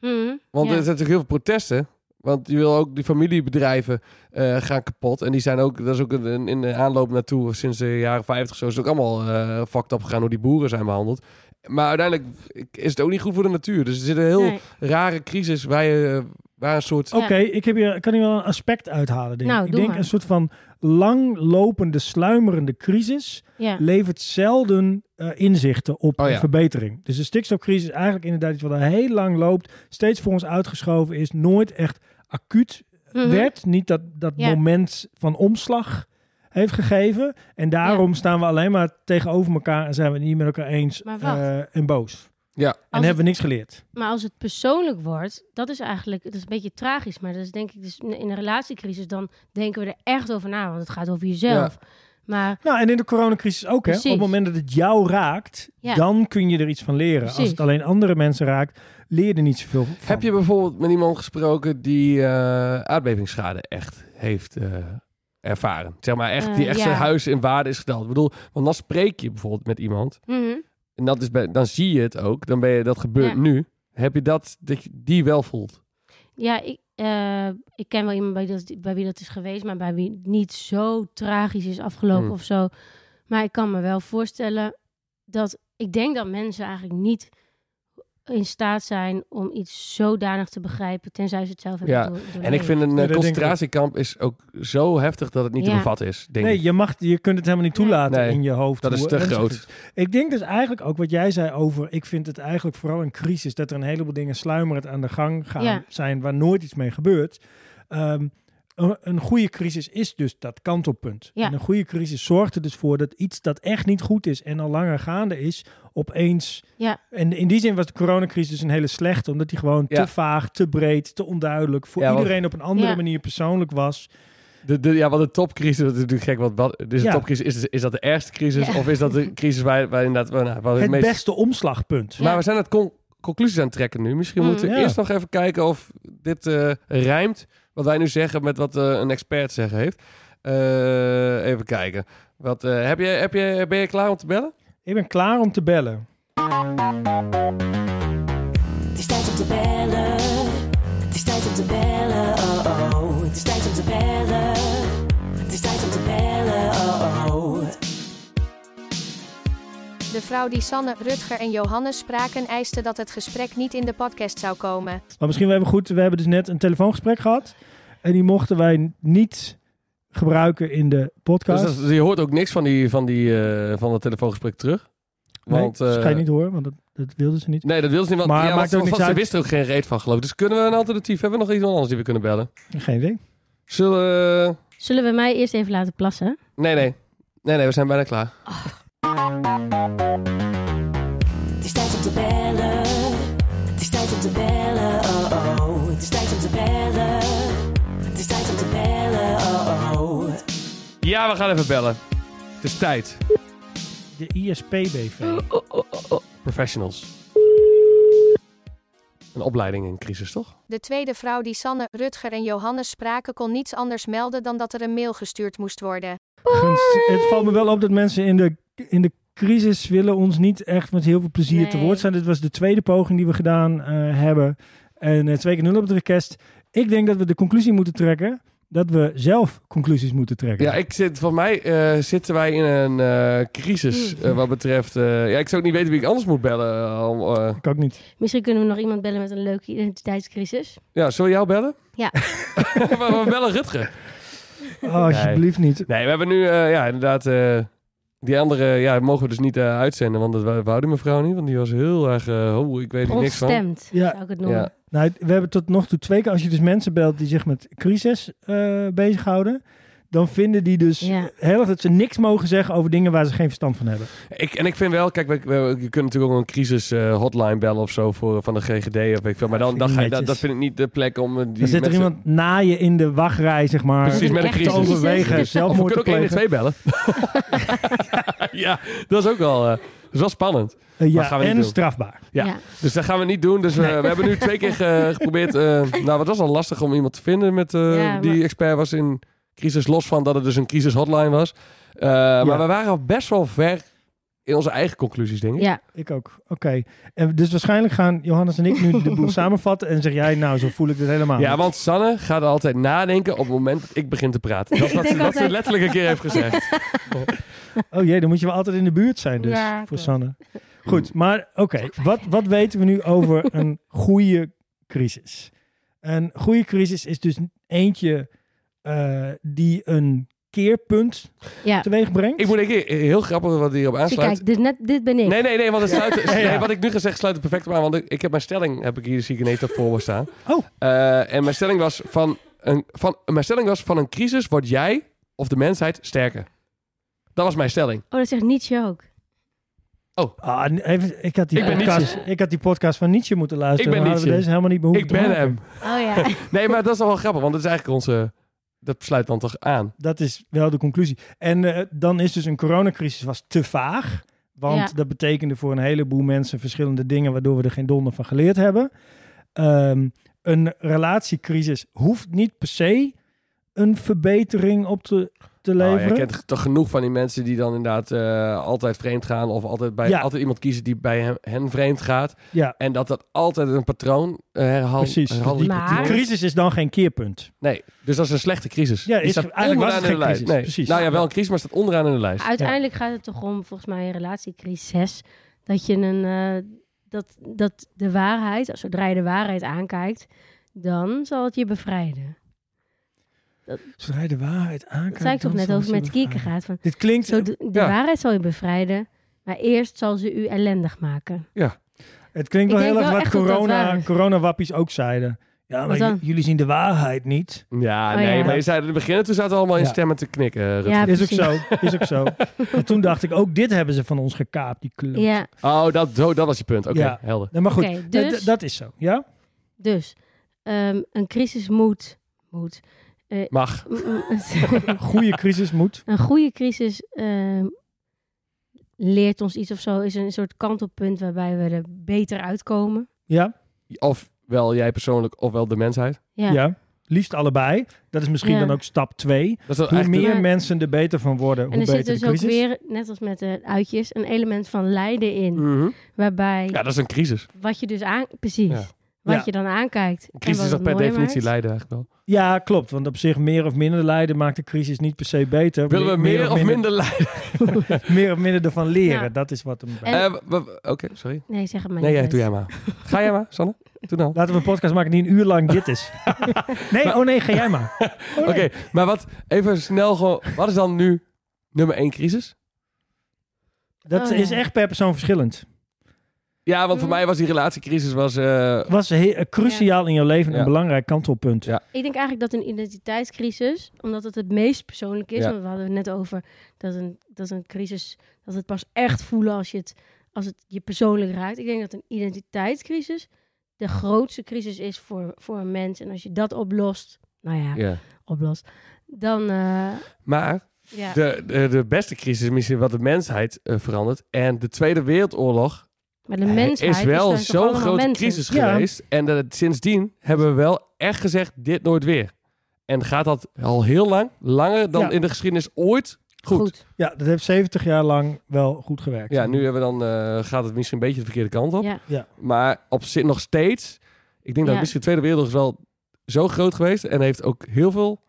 A: Hmm,
B: Want
A: ja.
B: er zijn natuurlijk heel veel protesten. Want je wil ook die familiebedrijven eh, gaan kapot. En die zijn ook, dat is ook een, in de aanloop naartoe sinds de jaren 50 zo, is het ook allemaal eh fucked up gegaan hoe die boeren zijn behandeld. Maar uiteindelijk is het ook niet goed voor de natuur. Dus er zit een heel
A: Nee. Oh,
B: rare crisis waar je waar een soort.
A: Ja.
C: Oké, ik heb hier, kan hier wel een aspect uithalen. Denk. ik.
A: Nou,
C: ik
A: doe
C: denk
A: maar.
C: een soort van langlopende, sluimerende crisis
A: ja.
C: levert zelden eh, inzichten op
B: Oh ja.
C: een verbetering. Dus de stikstofcrisis is eigenlijk inderdaad iets wat al heel lang loopt, steeds voor ons uitgeschoven is, nooit echt acuut
A: Mhm.
C: werd. Niet dat, dat
A: Ja.
C: moment van omslag heeft gegeven. En daarom staan we alleen maar tegenover elkaar en zijn we het niet met elkaar eens
A: Maar wacht.
C: eh, en boos.
B: Ja,
C: En
A: Als
C: hebben we niks geleerd.
A: Maar als het persoonlijk wordt, dat is eigenlijk, dat is een beetje tragisch, maar dat is denk ik dus in een relatiecrisis, dan denken we er echt over na, want het gaat over jezelf. Maar
C: Nou, en in de coronacrisis ook, hè? Op
A: Precies.
C: het moment dat het jou raakt,
A: Ja.
C: dan kun je er iets van leren. Als
A: Precies.
C: het alleen andere mensen raakt, leer je er niet zoveel van.
B: Heb je bijvoorbeeld met iemand gesproken die eh, aardbevingsschade echt heeft eh, ervaren? Zeg maar echt, die
A: Eh,
B: echt
A: ja.
B: zijn huis in waarde is gedaald. Ik bedoel, want dan spreek je bijvoorbeeld met iemand.
A: mhm.
B: En dat is bij, dan zie je het ook. Dan ben je, dat gebeurt
A: Ja.
B: nu. Heb je dat, dat je die wel voelt?
A: ja, ik, eh, ik ken wel iemand bij, dat, bij wie dat is geweest, maar bij wie het niet zo tragisch is afgelopen
B: Hmm.
A: of zo. Maar ik kan me wel voorstellen dat ik denk dat mensen eigenlijk niet in staat zijn om iets zodanig te begrijpen, tenzij ze het zelf hebben
B: Ja,
A: door-
B: En ik
A: doorleefd.
B: vind een eh,
C: denk ik ook.
B: concentratiekamp is ook zo heftig dat het niet te
A: Ja.
B: bevatten is, denk
C: Nee,
B: ik.
C: je, mag, je kunt het helemaal niet toelaten
B: Nee,
C: in je hoofd.
B: dat is
C: hoe
B: te
C: ernstig
B: groot.
C: het is. Ik denk dus eigenlijk ook wat jij zei over... ik vind het eigenlijk vooral een crisis... dat er een heleboel dingen sluimerend aan de gang gaan
A: Ja.
C: zijn... waar nooit iets mee gebeurt. Ehm, een, een goede crisis is dus dat kantelpunt.
A: Ja.
C: En een goede crisis zorgt er dus voor dat iets dat echt niet goed is... en al langer gaande is, opeens...
A: Ja.
C: En in die zin was de coronacrisis een hele slechte... omdat die gewoon
B: Ja.
C: te vaag, te breed, te onduidelijk... voor
B: Ja, want-
C: iedereen op een andere
A: Ja.
C: manier persoonlijk was.
B: De, de, ja, want de topcrisis, dat is natuurlijk gek. Want wat, dus
C: Ja.
B: de topcrisis, is, is dat de ergste crisis?
A: Ja.
B: Of is dat de crisis waar, waar inderdaad... Waar, nou, waar
C: Het
B: het meest...
C: beste omslagpunt.
B: Maar
A: Ja.
B: we zijn het con- conclusies aan het trekken nu. Misschien
A: Mm.
B: moeten we
C: Ja.
B: eerst nog even kijken of dit eh, rijmt. Wat wij nu zeggen met wat eh, een expert zeggen heeft. Eh, even kijken. Wat, eh, heb je, heb je, ben je klaar om te bellen?
C: Ik ben klaar om te bellen.
D: Het is tijd om te bellen. Het is tijd om te bellen. Oh oh. Het is tijd om te bellen. Het is tijd om te bellen. Oh oh.
F: De vrouw die Sanne, Rutger en Johannes spraken eiste dat het gesprek niet in de podcast zou komen.
C: Maar misschien wel even goed. We hebben dus net een telefoongesprek gehad. En die mochten wij niet gebruiken in de
B: Dus
C: podcast.
B: dat is- je hoort ook niks van, die, van, die, eh, van het telefoongesprek terug. Want,
C: nee, dat
B: eh,
C: ga je niet horen, want dat, dat wilden ze niet.
B: Nee, dat wil ze niet. Want,
C: Maar
B: ja,
C: maakt
B: want-
C: ook niks
B: want ze
C: uit.
B: wist er ook geen reet van geloof ik. Dus kunnen we een alternatief? Hebben we nog iemand anders die we kunnen bellen?
C: Geen idee.
B: Zullen we- eh,
A: Zullen we mij eerst even laten plassen?
B: Nee, nee. Nee, nee, we zijn bijna klaar.
D: Het is tijd om te bellen. Het is tijd om te bellen. Oh oh. Het is tijd om te bellen. Het is tijd om te bellen. Oh oh.
B: Ja, we gaan even bellen. Het is tijd.
C: De ISPBV.
B: Professionals. Een opleiding in crisis, toch?
F: De tweede vrouw die Sanne, Rutger en Johannes spraken kon niets anders melden dan dat er een mail gestuurd moest worden.
C: Gunst- Het valt me wel op dat mensen in de, in de crisis willen ons niet echt met heel veel plezier te
A: Nee.
C: woord zijn. Dit was de tweede poging die we gedaan eh, hebben. En eh, twee keer nul op de request. Ik denk dat we de conclusie moeten trekken dat we zelf conclusies moeten trekken.
B: Ja, ik zit, voor mij eh, zitten wij in een eh, crisis eh, wat betreft... eh, ja, ik zou ook niet weten wie ik anders moet bellen. eh, om, eh,
C: Ik ook niet.
A: Misschien kunnen we nog iemand bellen met een leuke identiteitscrisis.
B: ja, zullen we jou bellen?
A: Ja.
B: we, we bellen Rutger.
C: Oh, alsjeblieft niet.
B: Nee, we hebben nu, eh, ja, inderdaad. eh, die andere ja, mogen we dus niet eh, uitzenden, want dat wou- wou die mevrouw niet. Want die was heel erg, eh, oh, ik weet er niks van.
A: Ontstemd,
C: Ja.
A: zou ik het noemen.
B: Ja.
C: Nou, we hebben tot nog toe twee keer, als je dus mensen belt die zich met crisis eh, bezighouden, dan vinden die dus
A: Ja.
C: heel erg dat ze niks mogen zeggen over dingen waar ze geen verstand van hebben.
B: Ik, en ik vind wel, kijk, we, we- je kunt natuurlijk ook een crisis eh, hotline bellen of zo voor, van de GGD of weet ik veel. Maar dan,
C: Vind
B: dan
C: ik
B: ga je,
C: netjes.
B: dat, dat vind ik niet de plek om eh, die
C: Dan zit er
B: mensen-
C: iemand na je in de wachtrij, zeg maar,
B: Precies, met een
A: Echt
C: te
B: crisis.
A: crisis.
C: overwegen
B: Of we
C: zelfmoord
B: kunnen
C: te
B: ook 1 en 2
C: plegen.
B: bellen. ja, dat is ook wel, eh, dat is wel spannend.
C: Eh,
B: Maar gaan we
C: ja,
B: niet
C: en
B: doen.
C: strafbaar.
B: Ja. Dus dat gaan we niet doen. Dus we, we hebben nu twee keer ge- geprobeerd. eh, nou, wat was al lastig om iemand te vinden met, eh,
A: Ja,
B: die
A: maar-
B: expert was in crisis. Los van dat het dus een crisis hotline was. Eh, Maar we waren al best wel ver in onze eigen conclusies, denk ik.
A: Ja.
C: Ik ook. Oké. En dus waarschijnlijk gaan Johannes en ik nu de boel samenvatten en zeg jij, nou, zo voel ik dit helemaal.
B: Ja,
C: niet.
B: want Sanne gaat altijd nadenken op het moment dat ik begin te praten. Dat is wat,
A: denk
B: ze, wat ze
A: altijd-
B: letterlijk een keer heeft gezegd.
C: Oh jee, dan moet je wel altijd in de buurt zijn dus,
A: Ja,
C: voor
A: klopt.
C: Sanne. Goed, maar oké, wat, wat weten we nu over een goede crisis? Een goede crisis is dus eentje eh, die een keerpunt
A: Ja.
C: teweeg brengt.
B: Ik moet een keer heel grappig wat hierop
A: Zie,
B: aansluit.
A: kijk, dit, net, dit ben ik.
B: Nee, nee, nee, want het sluit, nee,
C: ja.
B: wat ik nu ga zeggen sluit het perfect op aan. Want ik, ik heb mijn stelling, heb ik hier zie ik ineens dat voor me staan.
C: Oh.
B: Eh, en mijn stelling, was van een, van, mijn stelling was van een crisis word jij of de mensheid sterker. Dat was mijn stelling.
A: Oh, dat zegt Nietzsche ook.
C: Ah, n- even, ik, had die
B: Ik ben
C: podcast, ik had die podcast van Nietzsche moeten luisteren.
B: Ik ben
C: dan hadden we
B: Nietzsche.
C: deze helemaal niet
B: ik
C: behoefte te
B: ben
C: maken.
B: hem.
A: Oh ja.
B: Nee, maar dat is wel grappig, want dat is eigenlijk onze dat sluit dan toch aan?
C: Dat is wel de conclusie. En eh, dan is dus een coronacrisis was te vaag. Want
A: Ja.
C: dat betekende voor een heleboel mensen verschillende dingen... waardoor we er geen donder van geleerd hebben. Ehm, een relatiecrisis hoeft niet per se een verbetering op te, te
B: Nou,
C: leveren.
B: je kent toch genoeg van die mensen die dan inderdaad eh, altijd vreemd gaan. Of altijd, bij,
C: Ja.
B: altijd iemand kiezen die bij hem, hen vreemd gaat.
C: Ja,
B: En dat dat altijd een patroon eh herhaal,
C: precies.
B: herhaaldelijk
A: Maar-
B: patroon
C: Die
B: is.
C: crisis is dan geen keerpunt.
B: Nee, dus dat is een slechte crisis.
C: Ja,
B: Die
C: is-
B: staat
C: eigenlijk was
B: onderaan
C: het
B: in de
C: geen
B: lijst.
C: crisis,
B: Nee.
C: precies.
B: Nou ja, wel een crisis, maar staat onderaan in de lijst.
A: Uiteindelijk gaat het toch om, volgens mij, een relatiecrisis. Dat je een. eh, dat, dat de waarheid, zodra je de waarheid aankijkt, dan zal het je bevrijden.
C: Zodra je de waarheid aankijkt...
A: Dat zei ik toch
C: dan
A: net
C: zal
A: over
C: ze
A: met kieken
C: bevrijden.
A: gaat. Van,
C: Dit klinkt...
A: zo, de de
B: ja.
A: waarheid zal je bevrijden, maar eerst zal ze u ellendig maken.
C: Het klinkt
A: Ik
C: wel heel
A: denk wel
C: erg wat
A: echt dat dat waar
C: corona,
A: is.
C: coronawappies ook zeiden. Ja, maar
A: Wat dan?
C: j- jullie zien de waarheid niet.
A: Oh,
B: Ja, nee,
A: ja.
B: maar je zei in het begin, en toen zaten we allemaal in
C: Ja.
B: stemmen te knikken, eh, Rutger.
A: Ja,
C: is ook
A: precies.
C: zo, is ook zo. Maar toen dacht ik, ook dit hebben ze van ons gekaapt, die kleur.
A: Ja,
B: Oh, dat, zo, dat was je punt. Oké,
C: Ja.
B: helder.
C: Nee, maar goed,
A: Oké,
C: eh,
A: dus-
C: d- dat is zo. Ja?
A: dus ehm, een crisis moet. moet
B: Mag.
C: Goede crisis moet.
A: een goede crisis ehm, leert ons iets of zo. Is een soort kantelpunt waarbij we er beter uitkomen.
C: Ja,
B: Ofwel jij persoonlijk, ofwel de mensheid.
A: Ja.
C: ja. Liefst allebei. Dat is misschien
A: Ja.
C: dan ook stap twee.
B: Dat is dan
C: Hoe
B: eigenlijk
C: meer
A: Ja.
C: mensen er beter van worden, hoe
A: En er
C: beter
A: zit dus
C: de
A: ook
C: crisis.
A: weer, net als met de uitjes, een element van lijden in.
B: de-
C: Mm.
B: Mhm.
A: Waarbij
B: Ja, dat is een crisis.
A: wat je dus aan... Precies.
B: Ja.
A: Wat
C: Ja.
A: je dan aankijkt.
B: Een crisis
A: en
B: is
A: wat
B: dat
A: het
B: per
A: mooi
B: definitie
A: maakt.
B: lijden eigenlijk wel.
C: Ja, klopt. Want op zich meer of minder lijden maakt de crisis niet per se beter.
B: Willen we meer of minder lijden?
C: Meer of minder ervan leren,
A: Ja.
C: dat is wat hem...
A: En-
B: Eh, w- w- Oké, sorry.
A: Nee, zeg het maar
B: Nee,
A: niet.
B: jij, doe
A: uit.
B: jij maar. Ga jij maar, Sanne. Doe nou.
C: Laten we een podcast maken die een uur lang dit is. nee, oh nee, ga jij maar. Oh
B: Oké, maar wat, even snel gewoon, wat is dan nu nummer één crisis?
C: Dat
A: Oh, ja.
C: is echt per persoon verschillend.
B: Ja, want voor
A: Mm.
B: mij was die relatiecrisis was, eh,
C: Was he- eh, cruciaal in jouw leven een
B: Ja.
C: belangrijk kantelpunt.
B: Ja.
A: Ik denk eigenlijk dat een identiteitscrisis, omdat het het meest persoonlijk is,
B: Ja.
A: want we hadden het net over dat een, dat een crisis, dat het pas echt voelen als je het, als het je persoonlijk raakt. Ik denk dat een identiteitscrisis de grootste crisis is voor, voor een mens. En als je dat oplost, nou ja,
B: ja.
A: oplost, dan eh,
B: Maar
A: ja,
B: de, de, de beste crisis misschien wat de mensheid eh, verandert. En de Tweede Wereldoorlog eh,
A: maar de mensheid
B: is wel
A: dan toch
B: zo'n
A: allemaal
B: grote
A: mensen.
B: crisis
C: Ja.
B: geweest. En dat het sindsdien hebben we wel echt gezegd, dit nooit weer. En gaat dat al heel lang, langer dan
C: Ja.
B: in de geschiedenis ooit, goed.
C: Ja, dat heeft 70 jaar lang wel goed gewerkt.
B: Ja, nu hebben we dan, eh, gaat het misschien een beetje de verkeerde kant op.
A: Ja.
C: Ja.
B: Maar op zich nog steeds, ik denk
A: Ja.
B: dat misschien de Tweede Wereldoorlog is wel zo groot geweest. En heeft ook heel veel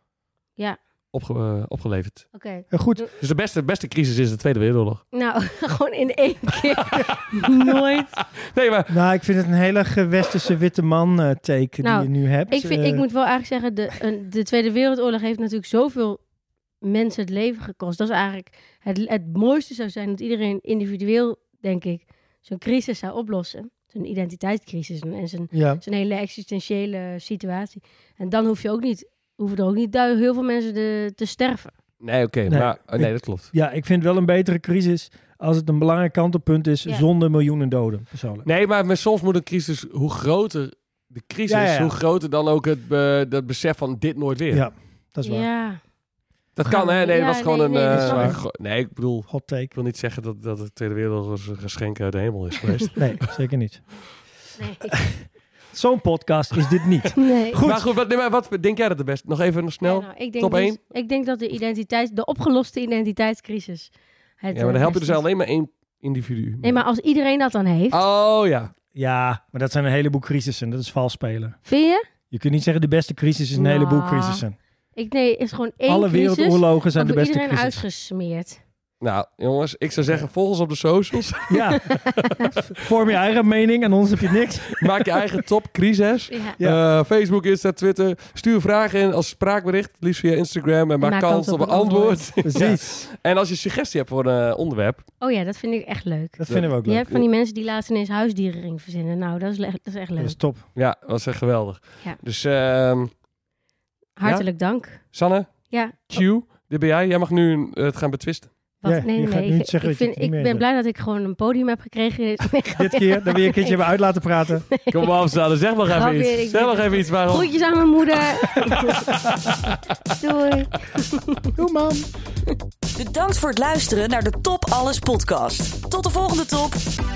A: Ja.
B: opge- eh, opgeleverd.
A: Oké,
C: Eh, goed,
B: Dus de beste, beste crisis is de Tweede Wereldoorlog.
A: nou, gewoon in één keer. Nooit
B: Nee, maar
C: nou ik vind het een hele gewesterse witte man eh, teken
A: Nou,
C: die je nu hebt.
A: Ik, vind,
C: Eh,
A: ik moet wel eigenlijk zeggen, de, een- de Tweede Wereldoorlog heeft natuurlijk zoveel mensen het leven gekost. Dat is eigenlijk het, het mooiste zou zijn dat iedereen individueel, denk ik, zo'n crisis zou oplossen. Zijn identiteitscrisis en zijn,
C: Ja,
A: zijn hele existentiële situatie. En dan hoef je ook niet, hoeven er ook niet du- heel veel mensen de, te sterven.
B: Nee, oké.
C: Nee.
B: maar, oh, nee, dat klopt.
C: ja, ik vind wel een betere crisis als het een belangrijk kantelpunt is
A: Ja.
C: zonder miljoenen doden, persoonlijk.
B: Nee, maar met- soms moet een crisis, hoe groter de crisis,
C: Ja, ja, ja.
B: hoe groter dan ook het be- dat besef van dit nooit weer.
C: Ja, dat is waar.
A: Ja,
B: Dat kan, hè? Nee,
A: Ja,
B: dat was gewoon
A: nee,
B: een...
A: nee, dat
B: eh,
A: is
C: waar.
B: gro- nee, ik bedoel...
C: Hot
B: Ik
C: take.
B: wil niet zeggen dat, dat de Tweede Wereldoorlog een geschenk uit de hemel is geweest.
C: Nee, zeker niet.
A: nee.
C: Zo'n podcast is dit niet.
A: nee.
C: Goed.
B: Maar goed, wat, nee, maar wat denk jij dat de beste? Nog even nog snel.
A: Ja,
B: Ja,
A: nou, ik denk
B: top
A: dus-
B: één.
A: Ik denk dat de, identiteit, de opgeloste identiteitscrisis. Het,
B: maar
A: eh,
B: dan help
A: beste
B: je dus
A: is.
B: alleen maar één individu.
A: Nee, maar als iedereen dat dan heeft,
B: Oh ja.
C: Ja, maar dat zijn een heleboel crisissen. Dat is vals spelen.
A: vind je?
C: Je kunt niet zeggen de beste crisis is een
A: Nou,
C: heleboel crisissen.
A: Ik nee, is gewoon één
C: Alle
A: crisis.
C: wereldoorlogen zijn de
A: wordt
C: beste
A: iedereen
C: crisis.
A: uitgesmeerd.
B: Nou, jongens, ik zou zeggen, volg ons op de socials.
C: Ja. Vorm je eigen mening en ons heb je niks.
B: Maak je eigen top crisis.
A: Ja.
C: Ja.
B: Eh, Facebook, Insta, Twitter. Stuur vragen in als spraakbericht, het liefst via Instagram. En maak,
A: maak
B: kans op een antwoord.
C: Precies.
B: En als je suggestie hebt voor een eh, onderwerp,
A: Oh ja, dat vind ik echt leuk.
C: Dat vinden we ook
A: Je
C: leuk.
A: hebt van die mensen die laatst ineens huisdierenring verzinnen. Nou, dat is, le- dat is echt
C: Dat
A: leuk.
C: is top.
B: ja, was echt geweldig.
A: Ja.
B: Dus ehm,
A: Hartelijk dank.
B: Sanne,
A: Ja,
B: Q, dit ben jij. Jij mag nu eh, het gaan betwisten.
A: Wat?
C: Ja,
A: nee,
C: je
A: nee,
C: gaat
A: nee.
C: nu
A: Ik,
C: niet zeggen
A: ik,
C: dat je
A: vind,
C: het niet
A: ik
C: meer
A: ben blij dat ik gewoon een podium heb gekregen.
C: Dit keer, dan wil je een keertje weer uit laten praten.
B: Kom maar afstellen, zeg maar
A: Grapje,
B: even
A: ik
B: iets. Zeg
A: ben-
B: maar even iets waarom...
A: Groetjes aan mijn moeder. Doei.
C: Doe man.
D: Bedankt voor het luisteren naar de Top Alles podcast. Tot de volgende top.